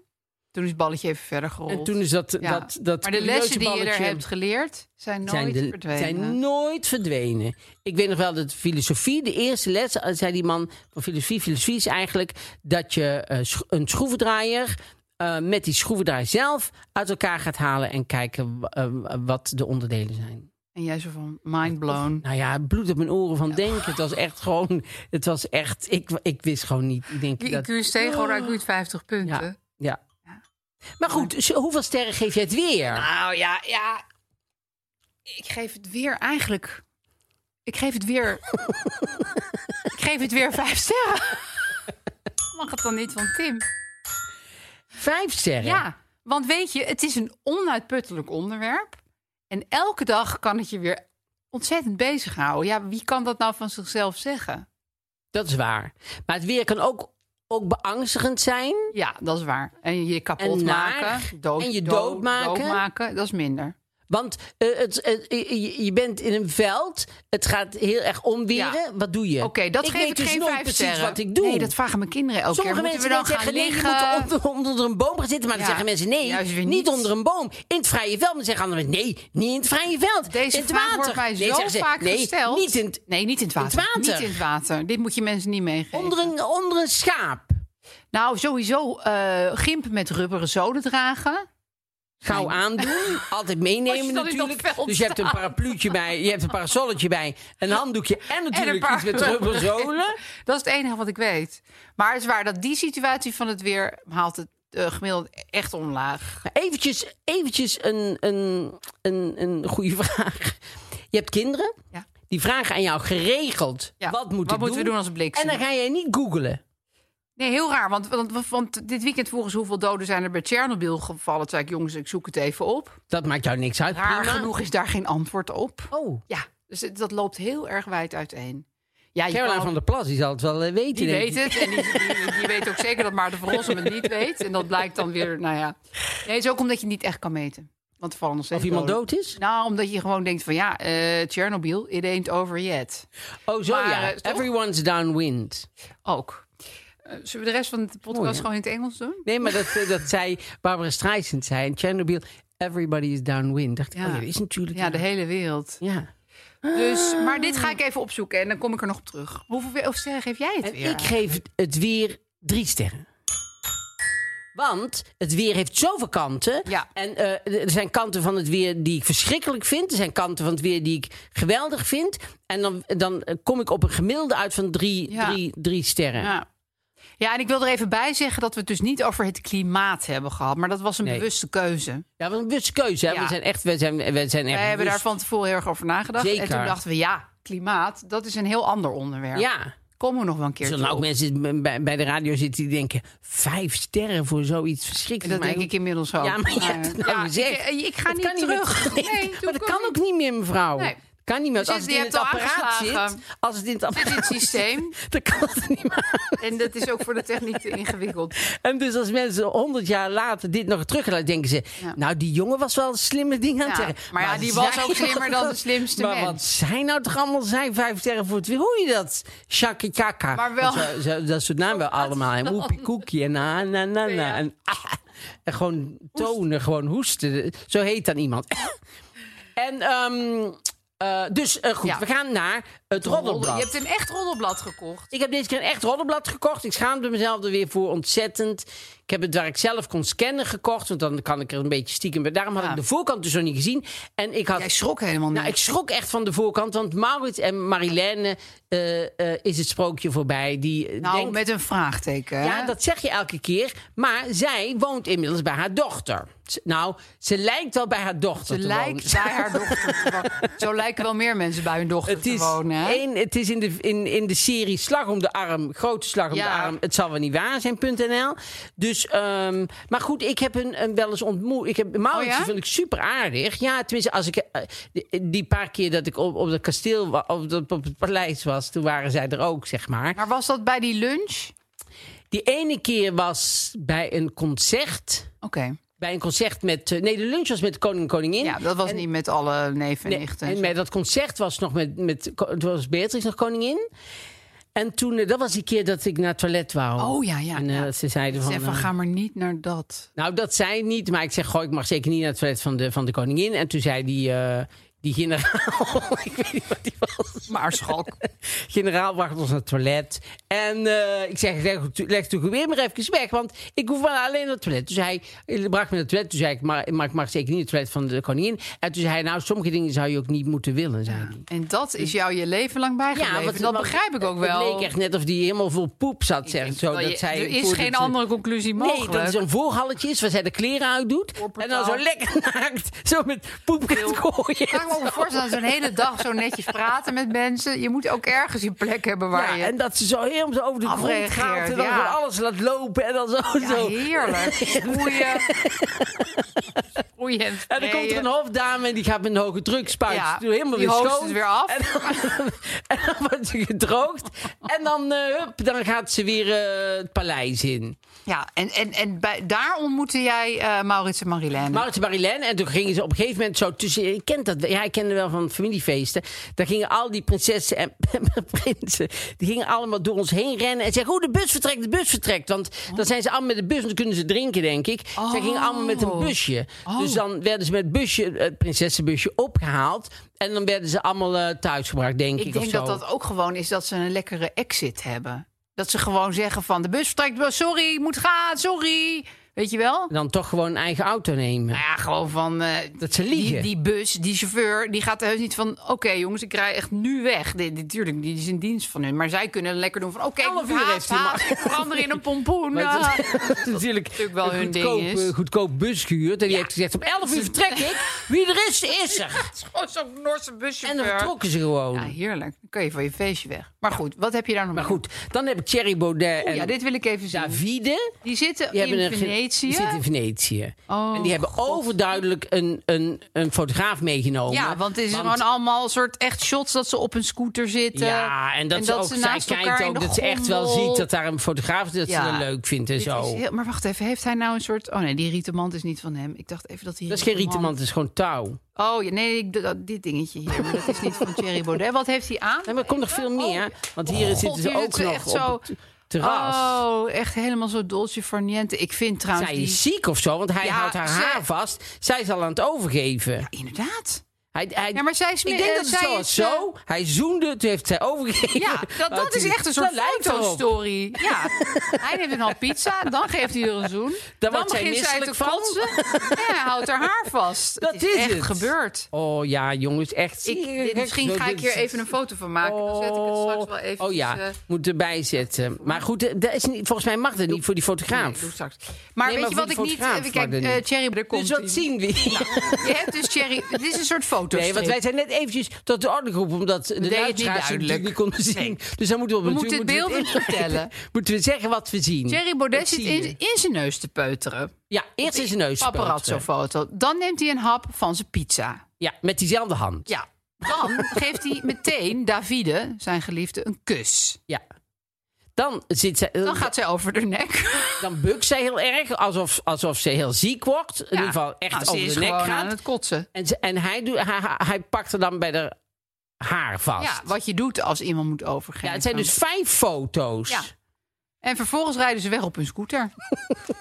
toen is het balletje even verder gerold.
En toen is dat...
Ja.
dat, dat
maar de
curieuze
lessen die je er
balletje-
hebt geleerd zijn nooit
zijn, de-
verdwenen.
zijn nooit verdwenen. Ik weet nog wel dat filosofie, de eerste les, eh, zei die man van filosofie, filosofie is eigenlijk dat je eh, sch- een schroevendraaier eh, met die schroevendraaier zelf uit elkaar gaat halen en kijken w- eh, wat de onderdelen zijn.
En jij zo van mind blown.
Nou ja, het bloed op mijn oren van denken. Het was echt gewoon, het was echt, ik, ik wist gewoon niet. Ik denk
Die
dat,
IQ is tegenwoordig uit 50 punten.
ja, ja. Maar goed, zo- hoeveel sterren geef je het weer?
Nou ja, ja. Ik geef het weer eigenlijk. Ik geef het weer. ik geef het weer vijf sterren. mag het dan niet van Tim?
Vijf sterren.
Ja, want weet je, het is een onuitputtelijk onderwerp. En elke dag kan het je weer ontzettend bezighouden. Ja, wie kan dat nou van zichzelf zeggen?
Dat is waar. Maar het weer kan ook, ook beangstigend zijn.
Ja, dat is waar. En je kapot
En naar.
maken, dood,
En je
dood-
doodmaken.
doodmaken, dat is minder.
Want eh, het, het- je, je bent in een veld. Het gaat heel erg omweren.
Ja.
Wat doe je?
Oké, dat
ik
geef
weet
ik
dus
geen
nooit
vijf
precies
sterren.
wat ik doe.
Nee, dat vragen mijn kinderen elke
Sommige
keer.
mensen
Moeten we
zeggen,
dan gaan
nee, je
liggen?
moet onder, onder een boom gaan zitten. Maar dan
Ja.
zeggen mensen nee,
Juist weer
niet.
niet.
onder een boom. In het vrije veld. Dan zeggen anderen nee, niet in het vrije veld.
Deze
in het
vraag
water.
wordt mij
nee,
zo
zeggen ze,
vaak
nee,
gesteld.
Niet in het-
Nee, niet in het
in het
water.
water.
Niet in het water. Dit moet je mensen niet meegeven.
onder, een, onder een schaap.
Nou, sowieso eh gimpen met rubberen zolen dragen.
Gauw aandoen. Altijd
Als
meenemen
je dan in dat
natuurlijk.
veld
Dus je hebt een
staat.
parapluutje bij, je hebt een parasolletje bij, een handdoekje en natuurlijk
paar
iets met rubberzolen.
Dat is het enige wat ik weet. Maar het is waar dat die situatie van het weer haalt het eh, gemiddeld echt omlaag.
Maar eventjes, eventjes een, een, een, een goede vraag. Je hebt kinderen.
Ja.
Die vragen aan jou geregeld.
Ja,
Wat moet
wat
ik
moeten we doen als bliksem?
En dan ga jij niet googelen.
Nee, heel raar. Want, want, want dit weekend volgens hoeveel doden zijn er bij Tsjernobyl gevallen. Toen zei ik, jongens, ik zoek het even op.
Dat maakt jou niks uit.
Raar
prima.
genoeg is daar geen antwoord op.
Oh,
Ja, dus het- dat loopt heel erg wijd uiteen. Ja, je
Caroline
kan-
van der Plas, die zal het wel eh, weten.
Die
denk
weet
ik.
het. En die, die, die weet ook zeker dat Maarten van Rossum het niet weet. En dat blijkt dan weer, nou ja. Nee, het is ook omdat je het niet echt kan meten. Want er vallen nog steeds
Of iemand
doden.
dood is?
Nou, omdat je gewoon denkt van ja, eh Chernobyl, it ain't over yet.
Oh, zo
Maar,
ja.
eh, toch?
Everyone's downwind.
Ook. Eh, zullen we de rest van de podcast
Mooi, hè?
gewoon in het Engels doen?
Nee, maar dat, eh, dat zei Barbara Streisand zei in Chernobyl. Everybody is downwind. Dacht ik,
Ja.
oh ja, dat is natuurlijk...
Ja, de hele wereld.
Ja.
Dus, maar dit ga ik even opzoeken en dan kom ik er nog op terug. Hoeveel weer- of sterren geef jij het
En
weer?
Eh, ik geef het weer drie sterren. Want het weer heeft zoveel kanten.
Ja.
En eh, er zijn kanten van het weer die ik verschrikkelijk vind. Er zijn kanten van het weer die ik geweldig vind. En dan, dan eh, kom ik op een gemiddelde uit van drie,
Ja.
drie, drie sterren.
Ja. ja, en ik wil er even bij zeggen dat we het dus niet over het klimaat hebben gehad. Maar dat was een
Nee.
bewuste keuze.
Ja, wat een bewuste keuze. hè?
Ja.
We zijn echt, we zijn, we zijn echt
Wij hebben daar
bewust.
van tevoren heel erg over nagedacht.
dus- Zeker.
En toen dachten we, ja, klimaat, dat is een heel ander onderwerp.
Ja.
Komen we nog wel een keer
Er zullen nou
terug.
ook mensen bij, bij de radio zitten die denken... vijf sterren voor zoiets
En
verschrikkelijks.
dat
Maar
denk ik inmiddels ook.
Ja, maar je hebt het nou
ja,
gezegd.
Ik, ik ga
Het
niet
kan meer
terug.
Nee,
doe
maar
ik
dat kan ook niet meer, mevrouw.
Nee.
Kan niet meer. want
Dus
als het
je
in
hebt
het
al
apparaat zit,
aangeslagen.
als het in het
in het
apparaat zit,
systeem.
dan kan het niet meer.
En dat is ook voor de techniek te ingewikkeld.
En dus als mensen honderd jaar later dit nog terug gaan denken ze...
Ja.
nou, die jongen was wel een slimme ding aan het
Ja,
zeggen.
maar ja, die was
zij
ook slimmer dan de slimste
Maar
mens.
wat zijn nou toch allemaal zijn vijf sterren voor het weer? Hoe je dat? Shaka Chaka.
Maar wel-
Zo- zo- dat soort namen wel allemaal. En Oepie Koekie en na na na na.
Ja.
En, ah. en gewoon tonen, gewoon hoesten. Zo heet dan iemand. en... ehm, eh, dus eh, goed,
Ja.
we gaan naar het roddelblad.
Je hebt een echt roddelblad gekocht.
Ik heb deze keer een echt roddelblad gekocht. Ik schaamde mezelf er weer voor ontzettend. Ik heb het waar ik zelf kon scannen gekocht. Want dan kan ik er een beetje stiekem bij. Daarom had
Ja.
ik de voorkant dus nog niet gezien. En ik had.
Jij schrok helemaal niet.
Nou, ik schrok echt van de voorkant. Want Maurits en Marilène eh, eh, is het sprookje voorbij. Die eh,
nou,
denkt-
met een vraagteken. hè?
ja, dat zeg je elke keer. Maar zij woont inmiddels bij haar dochter. Z- Nou, ze lijkt wel bij haar dochter
Ze
te
lijkt
wonen.
bij haar dochter te wonen. Zo lijken wel meer mensen bij hun dochter
Het
te
is,
wonen. hè?
één, het is in, de, in, in de serie Slag om de Arm, grote slag om
Ja.
de arm. Het zal wel niet waar zijn.nl. Dus, ehm, maar goed, ik heb een, een wel eens ontmoet. Ik heb Maurits,
Oh ja?
die vind ik super aardig. Ja, tenminste, als ik eh, die, die paar keer dat ik op, op het kasteel, wa- op, dat- op het paleis was, toen waren zij er ook, zeg maar.
Maar was dat bij die lunch?
Die ene keer was bij een concert.
Oké.
Bij een concert met. eh, Nee, de lunch was met de koning en koningin.
Ja, dat was niet met alle neven en
Nee,
nichten.
en met dat concert was nog met, met het was Beatrix nog koningin. En toen, eh, dat was die keer dat ik naar het toilet wou.
Oh, ja, ja,
En eh,
ja.
dat ze zeiden
Ik
van...
zeg van,
eh,
ga maar niet naar dat.
nou, dat zei niet, maar ik zeg, goh, ik mag zeker niet naar het toilet van de, van de koningin. En toen zei die, eh, die generaal, ik weet niet wat die was.
Maar schok.
Generaal wacht ons naar het toilet. En eh, ik zeg, leg, leg het weer maar even weg, want ik hoef wel alleen naar het toilet. Dus hij bracht me naar het toilet. Toen zei ik, maar, maar ik mag zeker niet naar het toilet van de koningin. En toen zei hij, nou, sommige dingen zou je ook niet moeten willen, zei hij.
En dat is jou je leven lang bijgebleven.
want-
En dat
want
begrijp ik ook
het
wel.
leek echt net of die helemaal vol poep zat,
Ik
zeg
denk
zo.
wel,
Dat
je-
zij
er is
voordat
geen
ze-
andere conclusie
Nee,
mogelijk.
dat is een voorhalletje is waar zij de kleren uit doet. En
Voorportaal.
dan zo lekker naakt, zo met poep kunt gooien.
Vraag me ook voorstellen, zo'n hele dag zo netjes praten met mensen. Je moet ook ergens een plek hebben waar
Ja,
je...
en dat ze zo helemaal zo over de grond
Afreageert,
gaat. En dan
ja.
gewoon alles laat lopen en dan zo.
Ja,
zo.
heerlijk. Sproeien. Sproeien en
En dan komt er een hofdame en die gaat met een hoge druk spuiten.
Ja,
Doe helemaal
die
weer
hoost
schoon.
het weer af.
En dan, en dan wordt ze gedroogd. En dan, eh, hup, dan gaat ze weer eh, het paleis in.
Ja, en, en, en bij, daar ontmoette jij eh, Maurits en Marilène.
Maurits en Marilène. En toen gingen ze op een gegeven moment zo tussen... Je kent dat, ja, ik kende wel van familiefeesten. Daar gingen al die prinsessen en prinsen... die gingen allemaal door ons heen rennen en zeggen... oh, de bus vertrekt, de bus vertrekt. Want
Oh.
dan zijn ze allemaal met de bus en dan kunnen ze drinken, denk ik. Ze gingen allemaal met een busje.
Oh.
Dus dan werden ze met het busje, het prinsessenbusje opgehaald... en dan werden ze allemaal eh, thuisgebracht, denk ik,
ik
of
denk
zo.
dat dat ook gewoon is dat ze een lekkere exit hebben. Dat ze gewoon zeggen van de bus vertrekt, wel, sorry, moet gaan, sorry. Weet je wel?
En dan toch gewoon een eigen auto nemen.
Nou ja, gewoon van... eh,
Dat ze liegen.
Die, die bus, die chauffeur, die gaat heus niet van... Oké jongens, ik rij echt nu weg. Dit- dit- Tuurlijk, die is in dienst van hun. Maar zij kunnen lekker doen van... Oké, ik
Elf
moet
uur
haast,
heeft die
haast,
man.
ik verander in een pompoen.
Maar
Ah.
dat, dat is natuurlijk
natuurlijk wel
een
hun ding
goedkoop,
is.
eh, goedkoop bus gehuurd. En die heeft gezegd, om 11 uur vertrek ik. Wie er is, is er.
Het is gewoon zo'n Noorse buschauffeur.
En dan vertrokken ze gewoon.
Ja, heerlijk. Dan kun je van je feestje weg. Maar goed, wat heb je daar nog
maar
meer?
goed, dan heb ik Thierry Baudet
Oeh,
en
Oh, ja, dit wil ik even zien.
Davide.
Die zitten
Die
in
hebben een ge-
Venetië.
Die zitten in Venetië.
Oh,
en die hebben overduidelijk een, een, een fotograaf meegenomen.
Ja, want het is gewoon allemaal een soort echt shots dat ze op een scooter zitten.
Ja, en dat, ze ook, zij kijkt
in
ook
de
dat ze echt wel
gondel.
ziet dat daar een fotograaf is, dat ze
Ja.
dat leuk vindt en
Dit
zo.
is heel- maar wacht even, heeft hij nou een soort... Oh nee, die rietenmand is niet van hem. Ik dacht even dat hij...
Dat is geen rietenmand, dat is gewoon touw.
Oh ja, nee, ik, dat, dit dingetje hier. Maar dat is niet van Thierry Baudet. Wat heeft hij aan?
Nee, maar er komt nog veel meer. Want hier
Oh. God,
zitten ze
hier
ook
zitten ze
nog
echt
op
zo-
het terras.
Oh, echt helemaal zo dolce far niente. Ik vind trouwens
Zij
die...
is ziek of zo, want hij
Ja,
houdt haar
zij-
haar vast. Zij is al aan het overgeven.
Inderdaad.
hij, hij,
Ja, maar zij is
ik
meer-
denk
eh,
dat het
zij
zo was.
is, eh,
Zo, hij zoende, toen heeft zij overgegeven.
Ja, dat,
Maar
dat
het
is echt een
dat
soort
lijkt erop.
fotostory. Ja, hij neemt een hal pizza, dan geeft hij er een zoen. Dan,
wordt zij
begint zij te
misselijk van.
kotsen en hij houdt haar haar vast.
Dat
het
is
is echt
het.
gebeurd.
Oh ja, jongens, echt.
Ik,
ziek.
dit- misschien
Zo,
ga
dit
ik hier
is-
even een foto van maken. Dan zet ik het straks wel eh, even.
Oh ja, moet erbij zetten. Maar goed, eh, dat is niet, volgens mij mag dat niet voor die
Nee,
fotograaf.
doe straks. Maar
Nee,
weet
maar voor
je wat ik
die
niet...
fotograaf
eh,
mag
Kijk,
dat
eh
niet.
Thierry, er komt
dus wat
ie.
zien we hier?
Je hebt dus Thierry... Dit is een soort foto.
Nee, want wij zijn net eventjes tot de orde geroepen, omdat de
deden het niet
luisteraars het
duidelijk.
niet konden zien. Dus dan moeten we,
We
natuurlijk-
moeten het beeld
moeten we
even vertellen.
moeten we zeggen wat we zien.
Thierry Baudet
Dat
zit
zie
in,
je.
in zijn neus te peuteren.
Ja, eerst is een neus.
Paparazzo-foto. Dan neemt hij een hap van zijn pizza.
Ja, met diezelfde hand.
Ja. Dan geeft hij meteen Davide, zijn geliefde, een kus.
Ja. Dan, zit zij,
Dan gaat zij over de nek.
dan bukt zij heel erg, alsof, alsof ze heel ziek wordt. In ieder geval echt
Nou, ze
over
is
de nek
gewoon aan
gaat.
het kotsen.
En, ze- en hij, doet, hij, hij- hij pakt er dan bij haar haar vast.
Ja, wat je doet als iemand moet overgeven.
Ja, het zijn dus vijf foto's.
Ja. En vervolgens rijden ze weg op hun scooter.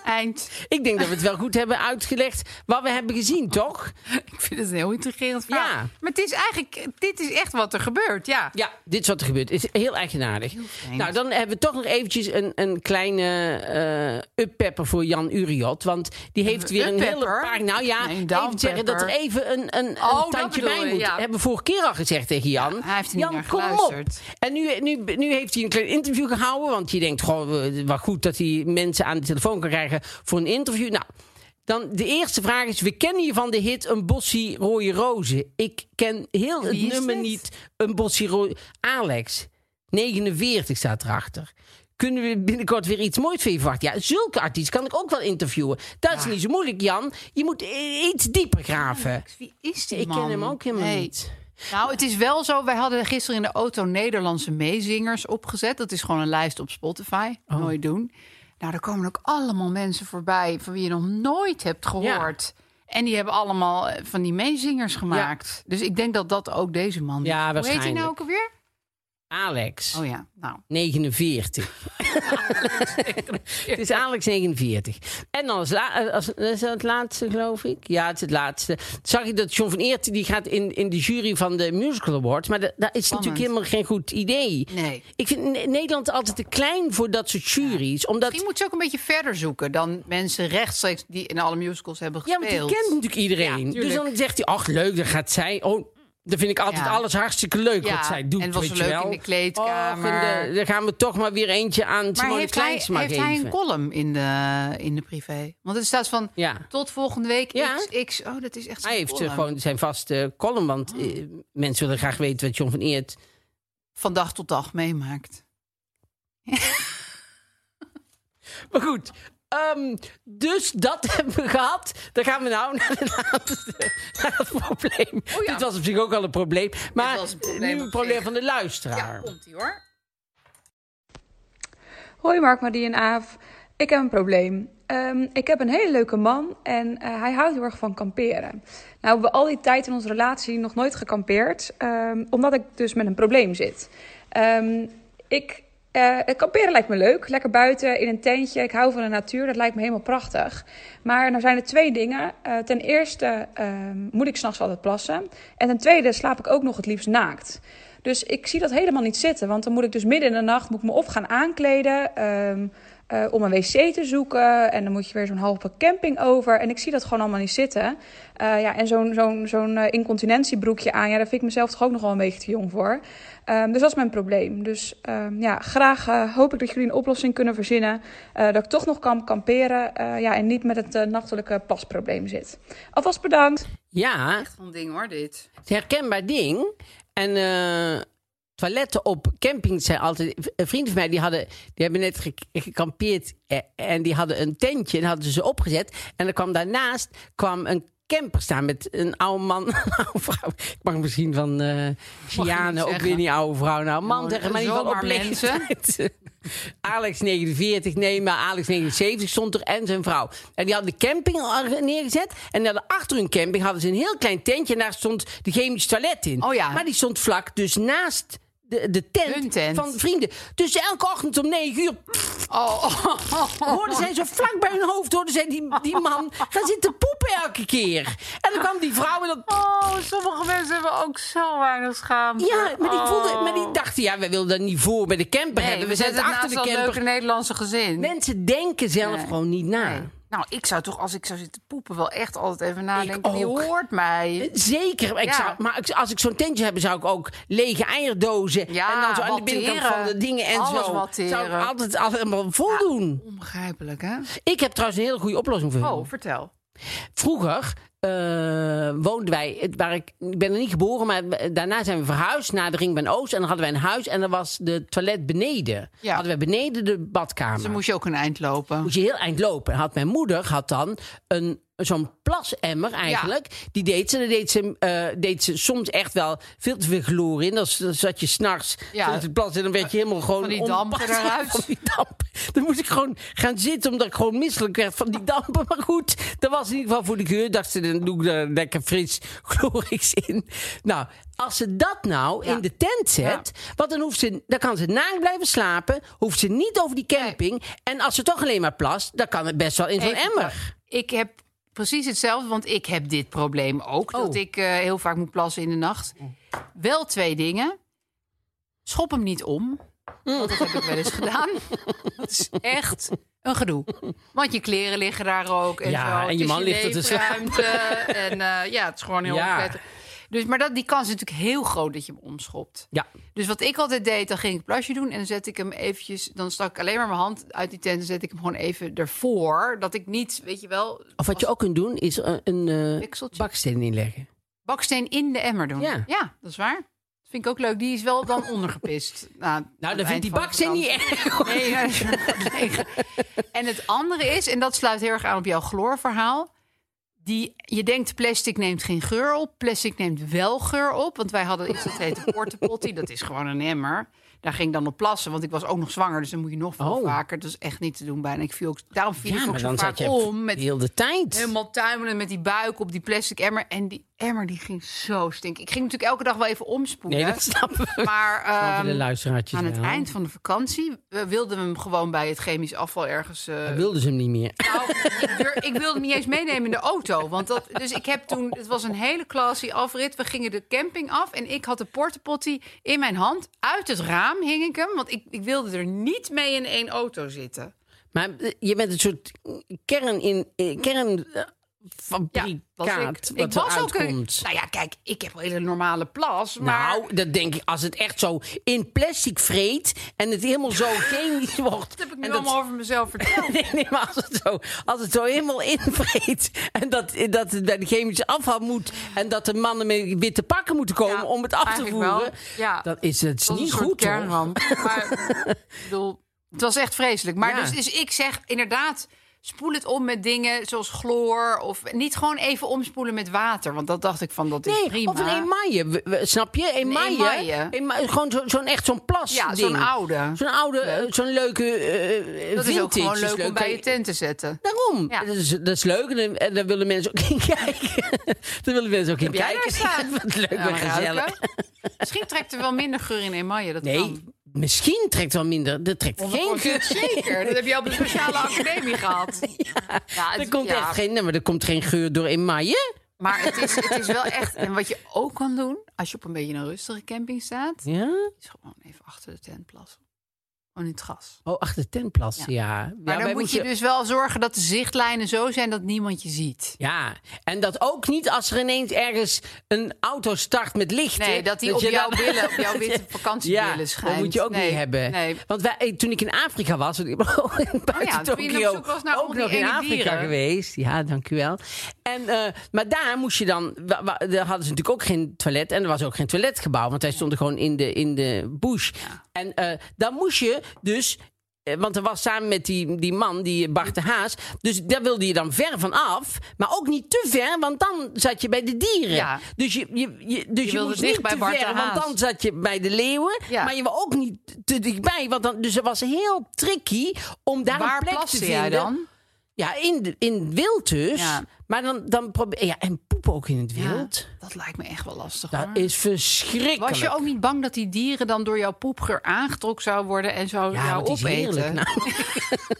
Eind.
Ik denk dat we het wel goed hebben uitgelegd wat we hebben gezien, toch?
Ik vind het een heel intrigerend verhaal.
Ja.
Maar het is eigenlijk, dit is echt wat er gebeurt, ja.
Ja, dit is wat er gebeurt. Het is heel eigenaardig. nou, dan hebben we toch nog eventjes een, een kleine eh uppepper voor Jan Uriot. Want die heeft weer een hele
uppepper?
paar... Nou ja,
Nee, een
even zeggen dat er
downpepper.
even een, een, een
Oh, dat
tandje
bedoel
bij
je,
moet.
ja.
Hebben we vorige keer al gezegd tegen Jan.
hij heeft er niet
Jan,
naar
kom
geluisterd.
op. En nu, nu, nu heeft hij een klein interview gehouden. Want je denkt, goh, eh, wat goed dat hij mensen aan de telefoon kan krijgen voor een interview. Nou, dan de eerste vraag is, we kennen je van de hit Een Bossie Rode Rozen. Ik ken heel het
Wie is
nummer
dit?
niet. Een Bossie Rode... Alex, 49 staat erachter. Kunnen we binnenkort weer iets moois van je verwachten? Ja, zulke artiesten kan ik ook wel interviewen. Dat is niet zo moeilijk, Jan. Je moet i- iets dieper graven.
Wie is die
Ik
man?
ken hem ook helemaal
Nee.
niet.
Nou, het is wel zo. Wij hadden gisteren in de auto Nederlandse meezingers opgezet. Dat is gewoon een lijst op Spotify.
Oh.
Nooit doen. Nou, daar komen ook allemaal mensen voorbij van wie je nog nooit hebt gehoord. En die hebben allemaal eh, van die meezingers gemaakt. Dus ik denk dat dat ook deze man.
Ja,
is. Hoe heet hij nou
waarschijnlijk.
ook alweer?
Alex.
Oh ja, nou.
49. het is Alex 49. En dan als, la- eh, als, is dat het laatste, geloof ik. Ja, het is het laatste. Zag je dat John van Eert die gaat in, in de jury van de Musical Awards. Maar da- dat is natuurlijk helemaal geen goed idee.
Nee.
Ik vind Ne- Nederland altijd te klein voor dat soort juries.
Misschien
Omdat,
moet ze ook een beetje verder zoeken dan mensen rechtstreeks die in alle musicals hebben
ja, want
gespeeld.
die kent natuurlijk iedereen.
Ja,
dus
tuurlijk.
dan zegt hij, ach leuk, dan gaat zij... Oh, Dan vind ik altijd
Ja.
alles hartstikke leuk
Ja,
wat zij doet.
en was
weet
er
je
leuk
wel.
in de kleedkamer.
Och, en de- dan gaan we toch maar weer eentje aan
Maar
Simone
heeft hij,
Kleinsma
heeft
geven.
hij een column in de, in de privé? Want het staat van
Ja.
tot volgende week
Ja.
XX. Oh, dat is echt zo'n
Hij heeft eh,
column. Oh.
gewoon zijn vaste column, want eh, mensen willen graag weten wat John van Eert...
van dag tot dag meemaakt.
Maar goed, ehm, dus dat hebben we gehad. Dan gaan we nou naar, de laatste, naar het probleem.
Oh ja.
Dit was op zich ook al een probleem, maar
was een probleem
nu
op
een probleem
zich.
van de luisteraar.
ie hoor.
Hoi Mark, Marie en Aaf. Ik heb een probleem. Ehm, ik heb een hele leuke man en eh, hij houdt heel erg van kamperen. Nou hebben we al die tijd in onze relatie nog nooit gekampeerd, ehm, omdat ik dus met een probleem zit. Ehm, ik, eh, het kamperen lijkt me leuk, lekker buiten in een tentje. Ik hou van de natuur, dat lijkt me helemaal prachtig. Maar nou zijn er twee dingen. Eh, ten eerste ehm, moet ik s'nachts altijd plassen. En ten tweede slaap ik ook nog het liefst naakt. Dus ik zie dat helemaal niet zitten. Want dan moet ik dus midden in de nacht moet ik me of gaan aankleden. ehm, eh, om een wc te zoeken. En dan moet je weer zo'n halve camping over. En ik zie dat gewoon allemaal niet zitten. Eh, ja, en zo'n zo'n zo'n eh, incontinentiebroekje aan. Ja, daar vind ik mezelf toch ook nog wel een beetje te jong voor. Ehm, dus dat is mijn probleem. Dus ehm, ja, graag eh, hoop ik dat jullie een oplossing kunnen verzinnen. eh, dat ik toch nog kan kamperen. eh, ja, en niet met het eh, nachtelijke plasprobleem zit. Alvast bedankt.
Ja,
Echt een ding hoor, dit.
het herkenbaar ding. En eh, toiletten op campings zijn altijd... Een vriend van mij, die, hadden, die hebben net ge- gekampeerd... eh, en die hadden een tentje en hadden ze ze opgezet. En er kwam daarnaast kwam een camper staan met een oude man, een oude vrouw. Ik mag misschien van eh Siane ook
zeggen.
weer niet oude vrouw. Nou, man
Nou,
tegen mij niet op
zomaar mensen.
leeftijd. Alex 49, nee, maar Alex 79 stond er en zijn vrouw. En die hadden de camping al neergezet. En hadden achter hun camping hadden ze een heel klein tentje. En daar stond de chemische toilet in.
Oh ja.
Maar die stond vlak, dus naast de, de
Hun
tent,
tent.
van vrienden. Dus elke ochtend om 9 uur pff,
Oh,
hoorden zij zo vlak bij hun hoofd... hoorden zij die, die man gaan zitten poepen elke keer. En dan kwam die vrouw en dan...
Oh, sommige mensen hebben ook zo weinig schaamte. Oh.
Ja, maar die, voelde, maar die dachten, ja, wij willen dat niet voor bij de camper hebben. We, zijn
zetten het
achter de
naast dat
camper.
leuke Nederlandse gezin.
Mensen denken zelf
Nee.
gewoon niet na.
Nee. Nou, ik zou toch als ik zou zitten poepen wel echt altijd even nadenken. Die
ook.
hoort mij.
Zeker, maar ik
Ja.
zou, maar ik- als ik zo'n tentje heb, zou ik ook lege eierdozen
Ja,
en dan zo aan de
watteren.
binnenkant van de dingen en
Alles
zo.
watteren.
Zou ik altijd allemaal voldoen.
Onbegrijpelijk, hè?
Ik heb trouwens een hele goede oplossing voor.
Oh,
jullie.
vertel.
Vroeger eh, woonden wij, het- waar ik, ik ben er niet geboren, maar daarna zijn we verhuisd naar de Ring van Oost. En dan hadden wij een huis en dan was de toilet beneden.
Ja.
Hadden we beneden de badkamer.
Dus dan moest je ook een eind lopen.
moest je heel eind lopen. En had mijn moeder had dan een zo'n plasemmer eigenlijk. Die deed ze. Daar deed ze, eh, deed ze soms echt wel veel te veel chloor in. Dan s- dan zat je s'nachts
Ja.
ja. te plas en dan werd je helemaal gewoon...
die dampen
onpasselijk
eruit.
Van die dampen. Dan moest ik gewoon gaan zitten omdat ik gewoon misselijk werd van die dampen. Maar goed, dat was in ieder geval voor de geur. Dacht ze, dan doe ik er lekker fris chlorix in. Nou, als ze dat nou in de tent zet... Want dan, hoeft ze, dan kan ze naakt blijven slapen. Hoeft ze niet over die camping. En als ze toch alleen maar plast, dan kan het best wel in zo'n
Even-
emmer.
Ik heb precies hetzelfde, want ik heb dit probleem ook. Dat
Oh.
ik eh, heel vaak moet plassen in de nacht. Wel twee dingen. Schop hem niet om.
Mm.
Want dat heb ik wel eens gedaan. Dat is echt een gedoe. Want je kleren liggen daar ook. En
Ja,
zo.
en
Het
je
is
man ligt er te slapen.
leefruimte. En eh, ja, het is gewoon heel
Ja.
onprettig. Dus, maar dat, die kans is natuurlijk heel groot dat je hem omschopt.
Ja.
Dus wat ik altijd deed, dan ging ik plasje doen en dan zet ik hem eventjes, dan stak ik alleen maar mijn hand uit die tent en zet ik hem gewoon even ervoor, dat ik niet, weet je wel,
Of wat je ook kunt doen, is een, een eh,
Pikseltje.
baksteen inleggen.
baksteen in de emmer doen.
Ja.
dat is waar. Dat vind ik ook leuk. Die is wel dan ondergepist. Nou,
Nou, dan vindt die baksteen
baksteen
niet erg. hoor.
Nee, ja, dat is wel leeg. en het andere is, en dat sluit heel erg aan op jouw chloorverhaal. Die, je denkt plastic neemt geen geur op. Plastic neemt wel geur op. Want wij hadden iets dat heette portepotty. Dat is gewoon een emmer. Daar ging ik dan op plassen, want ik was ook nog zwanger. Dus dan moet je nog veel
Oh.
vaker. Dat is echt niet te doen bijna. Ik viel ook, daarom viel
Ja,
ik ook
maar
zo
dan zat
vaak
je
om. Met
heel de tijd.
helemaal tuimelen met die buik op die plastic emmer. En die emmer die ging zo stinken. Ik ging natuurlijk elke dag wel even omspoelen.
Nee, dat snappen we.
Maar
Snappen de
ehm,
luisteraartjes
aan het
wel.
eind van de vakantie eh, wilden we hem gewoon bij het chemisch afval ergens. eh,
Dan wilden ze hem niet meer.
nou, ik, durf- ik wilde hem niet eens meenemen in de auto. Want dat, dus ik heb toen. Het was een hele klassie afrit. We gingen de camping af. En ik had de portepotty in mijn hand. Uit het raam hing ik hem. Want ik, ik wilde er niet mee in één auto zitten.
Maar eh, je bent een soort kern in, eh, kern eh, fabrikaat
ik.
wat
ik was
eruit
ook een-
komt.
Nou ja, kijk, ik heb een hele normale plas. Maar
Nou, dat denk ik, als het echt zo in plastic vreet en het helemaal zo chemisch wordt.
dat heb ik nu
en
allemaal over mezelf verteld.
Nee, nee, maar als het zo, als het zo helemaal invreet en dat, dat het bij de chemische afval moet en dat de mannen met witte pakken moeten komen
Ja,
om het af te
eigenlijk wel.
voeren,
Ja.
dat is, dat is
Dat was
niet
een soort
goed hoor.
kernramp. Maar ik bedoel, het was echt vreselijk. Maar
Ja.
dus, dus ik zeg inderdaad, spoel het om met dingen zoals chloor. Of niet gewoon even omspoelen met water. Want dat dacht ik van, dat is
Nee,
prima.
of een emaille, we- we- snap je? Emaille.
emaille.
Ema- gewoon zo- zo'n echt zo'n plas
Ja,
ding.
zo'n oude.
Zo'n oude, eh, zo'n leuke eh, eh,
dat is ook
vintage
gewoon leuk, om bij
hè?
je tent te zetten.
Daarom.
Ja.
Dat, is, dat is leuk. En dan- En daar willen mensen ook in kijken. daar willen mensen ook in
jij
kijken.
daar staan?
Wat leuk
Ja,
en
maar
gezellig.
ruiken. Misschien trekt er wel minder geur in emaille. Dat
Nee,
kan.
misschien trekt wel minder. Dat trekt geen geur.
Zeker, dat heb je op de speciale academie gehad. Ja, het-
Er komt
ja,
echt geen, nee, maar er komt geen geur door in maaien.
Maar het is, het is wel echt... En wat je ook kan doen, als je op een beetje een rustige camping staat...
Ja?
is gewoon even achter de tent plassen. Gewoon in het gras.
Oh, achter de tentplas, ja. ja.
Maar
wij
dan moet je
moesten-
dus wel zorgen dat de zichtlijnen zo zijn dat niemand je ziet.
Ja, en dat ook niet als er ineens ergens een auto start met lichten.
Nee, dat die op
je
jouw
dan-
billen, op jouw witte
Ja,
vakantiebillen schijnt.
dat moet je ook
Nee,
niet hebben.
Nee. Oh
Want wij, eh, toen ik in Afrika was, want ik ben ook in buiten
ja, toen je op
Tokio,
zoek was naar al
ook
die
nog in
enge
Afrika
dieren.
geweest. Ja, dank u wel. En, eh, maar daar moest je dan, wa- wa- daar hadden ze natuurlijk ook geen toilet en er was ook geen toiletgebouw, want wij stonden gewoon in de, in de bush. En eh dan moest je dus eh, Want er was samen met die, die man, die Bart de Haas. Dus daar wilde je dan ver van af. Maar ook niet te ver, want dan zat je bij de dieren.
Ja.
Dus je, je, je, dus je,
wilde
moest
dicht
niet
bij
te
Bart de
ver, want
Haas.
dan zat je bij de leeuwen.
Ja.
Maar je was ook niet te dichtbij. Want dan, dus het was heel tricky om daar
Waar
een plek te
plaste
vinden.
jij dan?
Ja, in, de, in het wild dus.
Ja.
Maar dan, dan probeer Ja, en poep ook in het
Ja,
wild.
dat lijkt me echt wel lastig.
Dat
hoor.
is verschrikkelijk.
Was je ook niet bang dat die dieren dan door jouw poepgeur aangetrokken zouden worden en zou
ja,
jou
want die is
opeten?
heerlijk. Nou,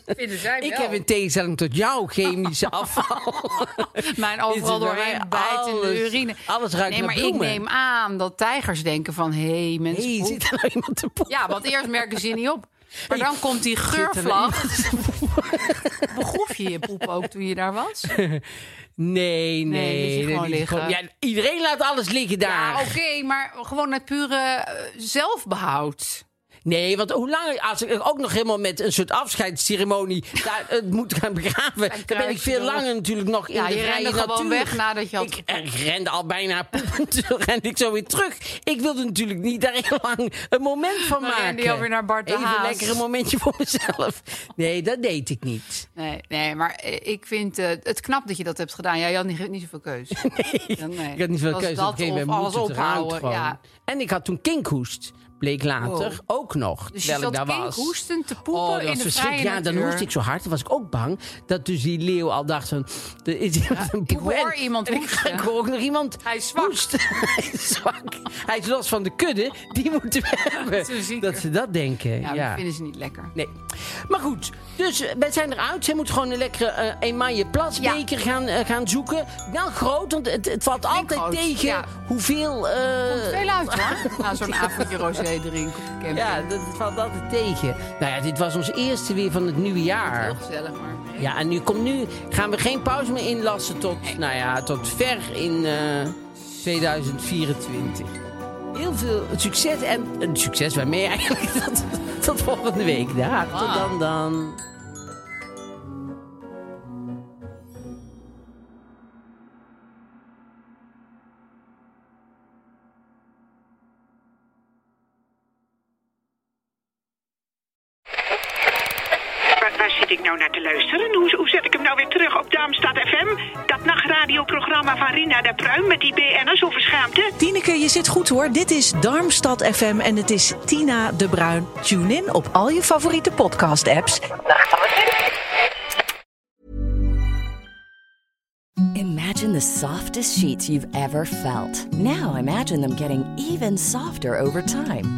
Vinden zij
ik heb in tegenstelling tot jouw chemische afval.
Mijn
Dit is
overal
bij
doorheen
mij
bijt in de
alles-
urine.
alles ruikt
nee,
naar
maar
bloemen.
ik neem aan dat tijgers denken van... hé, hey, mensen
Hé,
poepen.
zit er nou iemand te poepen?
Ja, want eerst merken ze niet op. Maar dan komt die geurvlag. Begroef je je poep ook toen je daar was?
Nee, nee.
Nee, liet je
dat
gewoon
liet ik
liggen.
ja, iedereen laat alles liggen daar.
Ja, oké, maar gewoon het pure eh, zelfbehoud.
Nee, want hoe lang, als ik ook nog helemaal met een soort afscheidsceremonie daar, het moet gaan begraven, dan ben ik
kruis je
veel
door.
langer natuurlijk nog
Ja,
in de
je
vrije
rende
natuur.
gewoon weg nadat je had
Ik, eh, ik rende al bijna poepend, toen rende ik zo weer terug. Ik wilde natuurlijk niet daar heel lang een moment van
Dan
maken.
rende je alweer naar Bart de
Even
Haas.
lekker een momentje voor mezelf. Nee, dat deed ik niet.
Nee, nee maar eh, ik vind eh, het knap dat je dat hebt gedaan. Ja, je had niet, niet zoveel keus. Ja, nee.
Ik had niet veel
Was
keuze.
dat
Op een gegeven
of
moment moest
alles
het eruit
ophouden,
gewoon.
ja.
En ik had toen kinkhoest. Bleek later ook nog.
Dus je
terwijl ik
zat
daar was.
kinkhoestend te poepen
Oh, dat
in
was
de
verschrikkelijk.
vrije
Ja, dan
natuur.
hoest ik zo hard. Dan was ik ook bang dat dus die leeuw al dacht van... Er is iemand een poepen.
hoor
En-
iemand
en ik,
hoesten.
ik hoor ook nog iemand
Hij is zwak.
hoesten. Hij is zwak. Hij is los van de kudde. Die moeten we
Zo
hebben.
ziek.
Dat ze dat denken.
Ja,
Ja,
dat vinden ze niet lekker.
Nee. Maar goed, dus eh, wij zijn eruit. Zij moet gewoon een lekkere eh emaille plasbeker gaan, eh, gaan zoeken. Wel groot, want het, het valt altijd
groot,
tegen
ja.
hoeveel... eh,
Veel uit, hoor. Na zo'n avondje rosé drinken op de camping.
ja, dat, het valt altijd tegen. Nou ja, dit was ons eerste weer van het nieuwe jaar.
Heel gezellig, maar...
Ja, en nu, komt nu gaan we geen pauze meer inlassen tot, nou ja, tot ver in eh, 2024. Heel veel succes en eh, succes waarmee eigenlijk. Tot, tot volgende week. Ja, tot dan dan.
Waar, waar zit ik nou naar te luisteren? Hoe, hoe zet ik hem nou weer terug op Darmstad FM? Dat nachtradioprogramma van Rina de Pruim met die BN'ers over schaamte?
Tineke, je zit goed hoor. Dit is Darmstad FM en het is Tina de Bruin. Tune in op al je favoriete podcast-apps.
Imagine the softest sheets you've ever felt. Now imagine them getting even softer over time.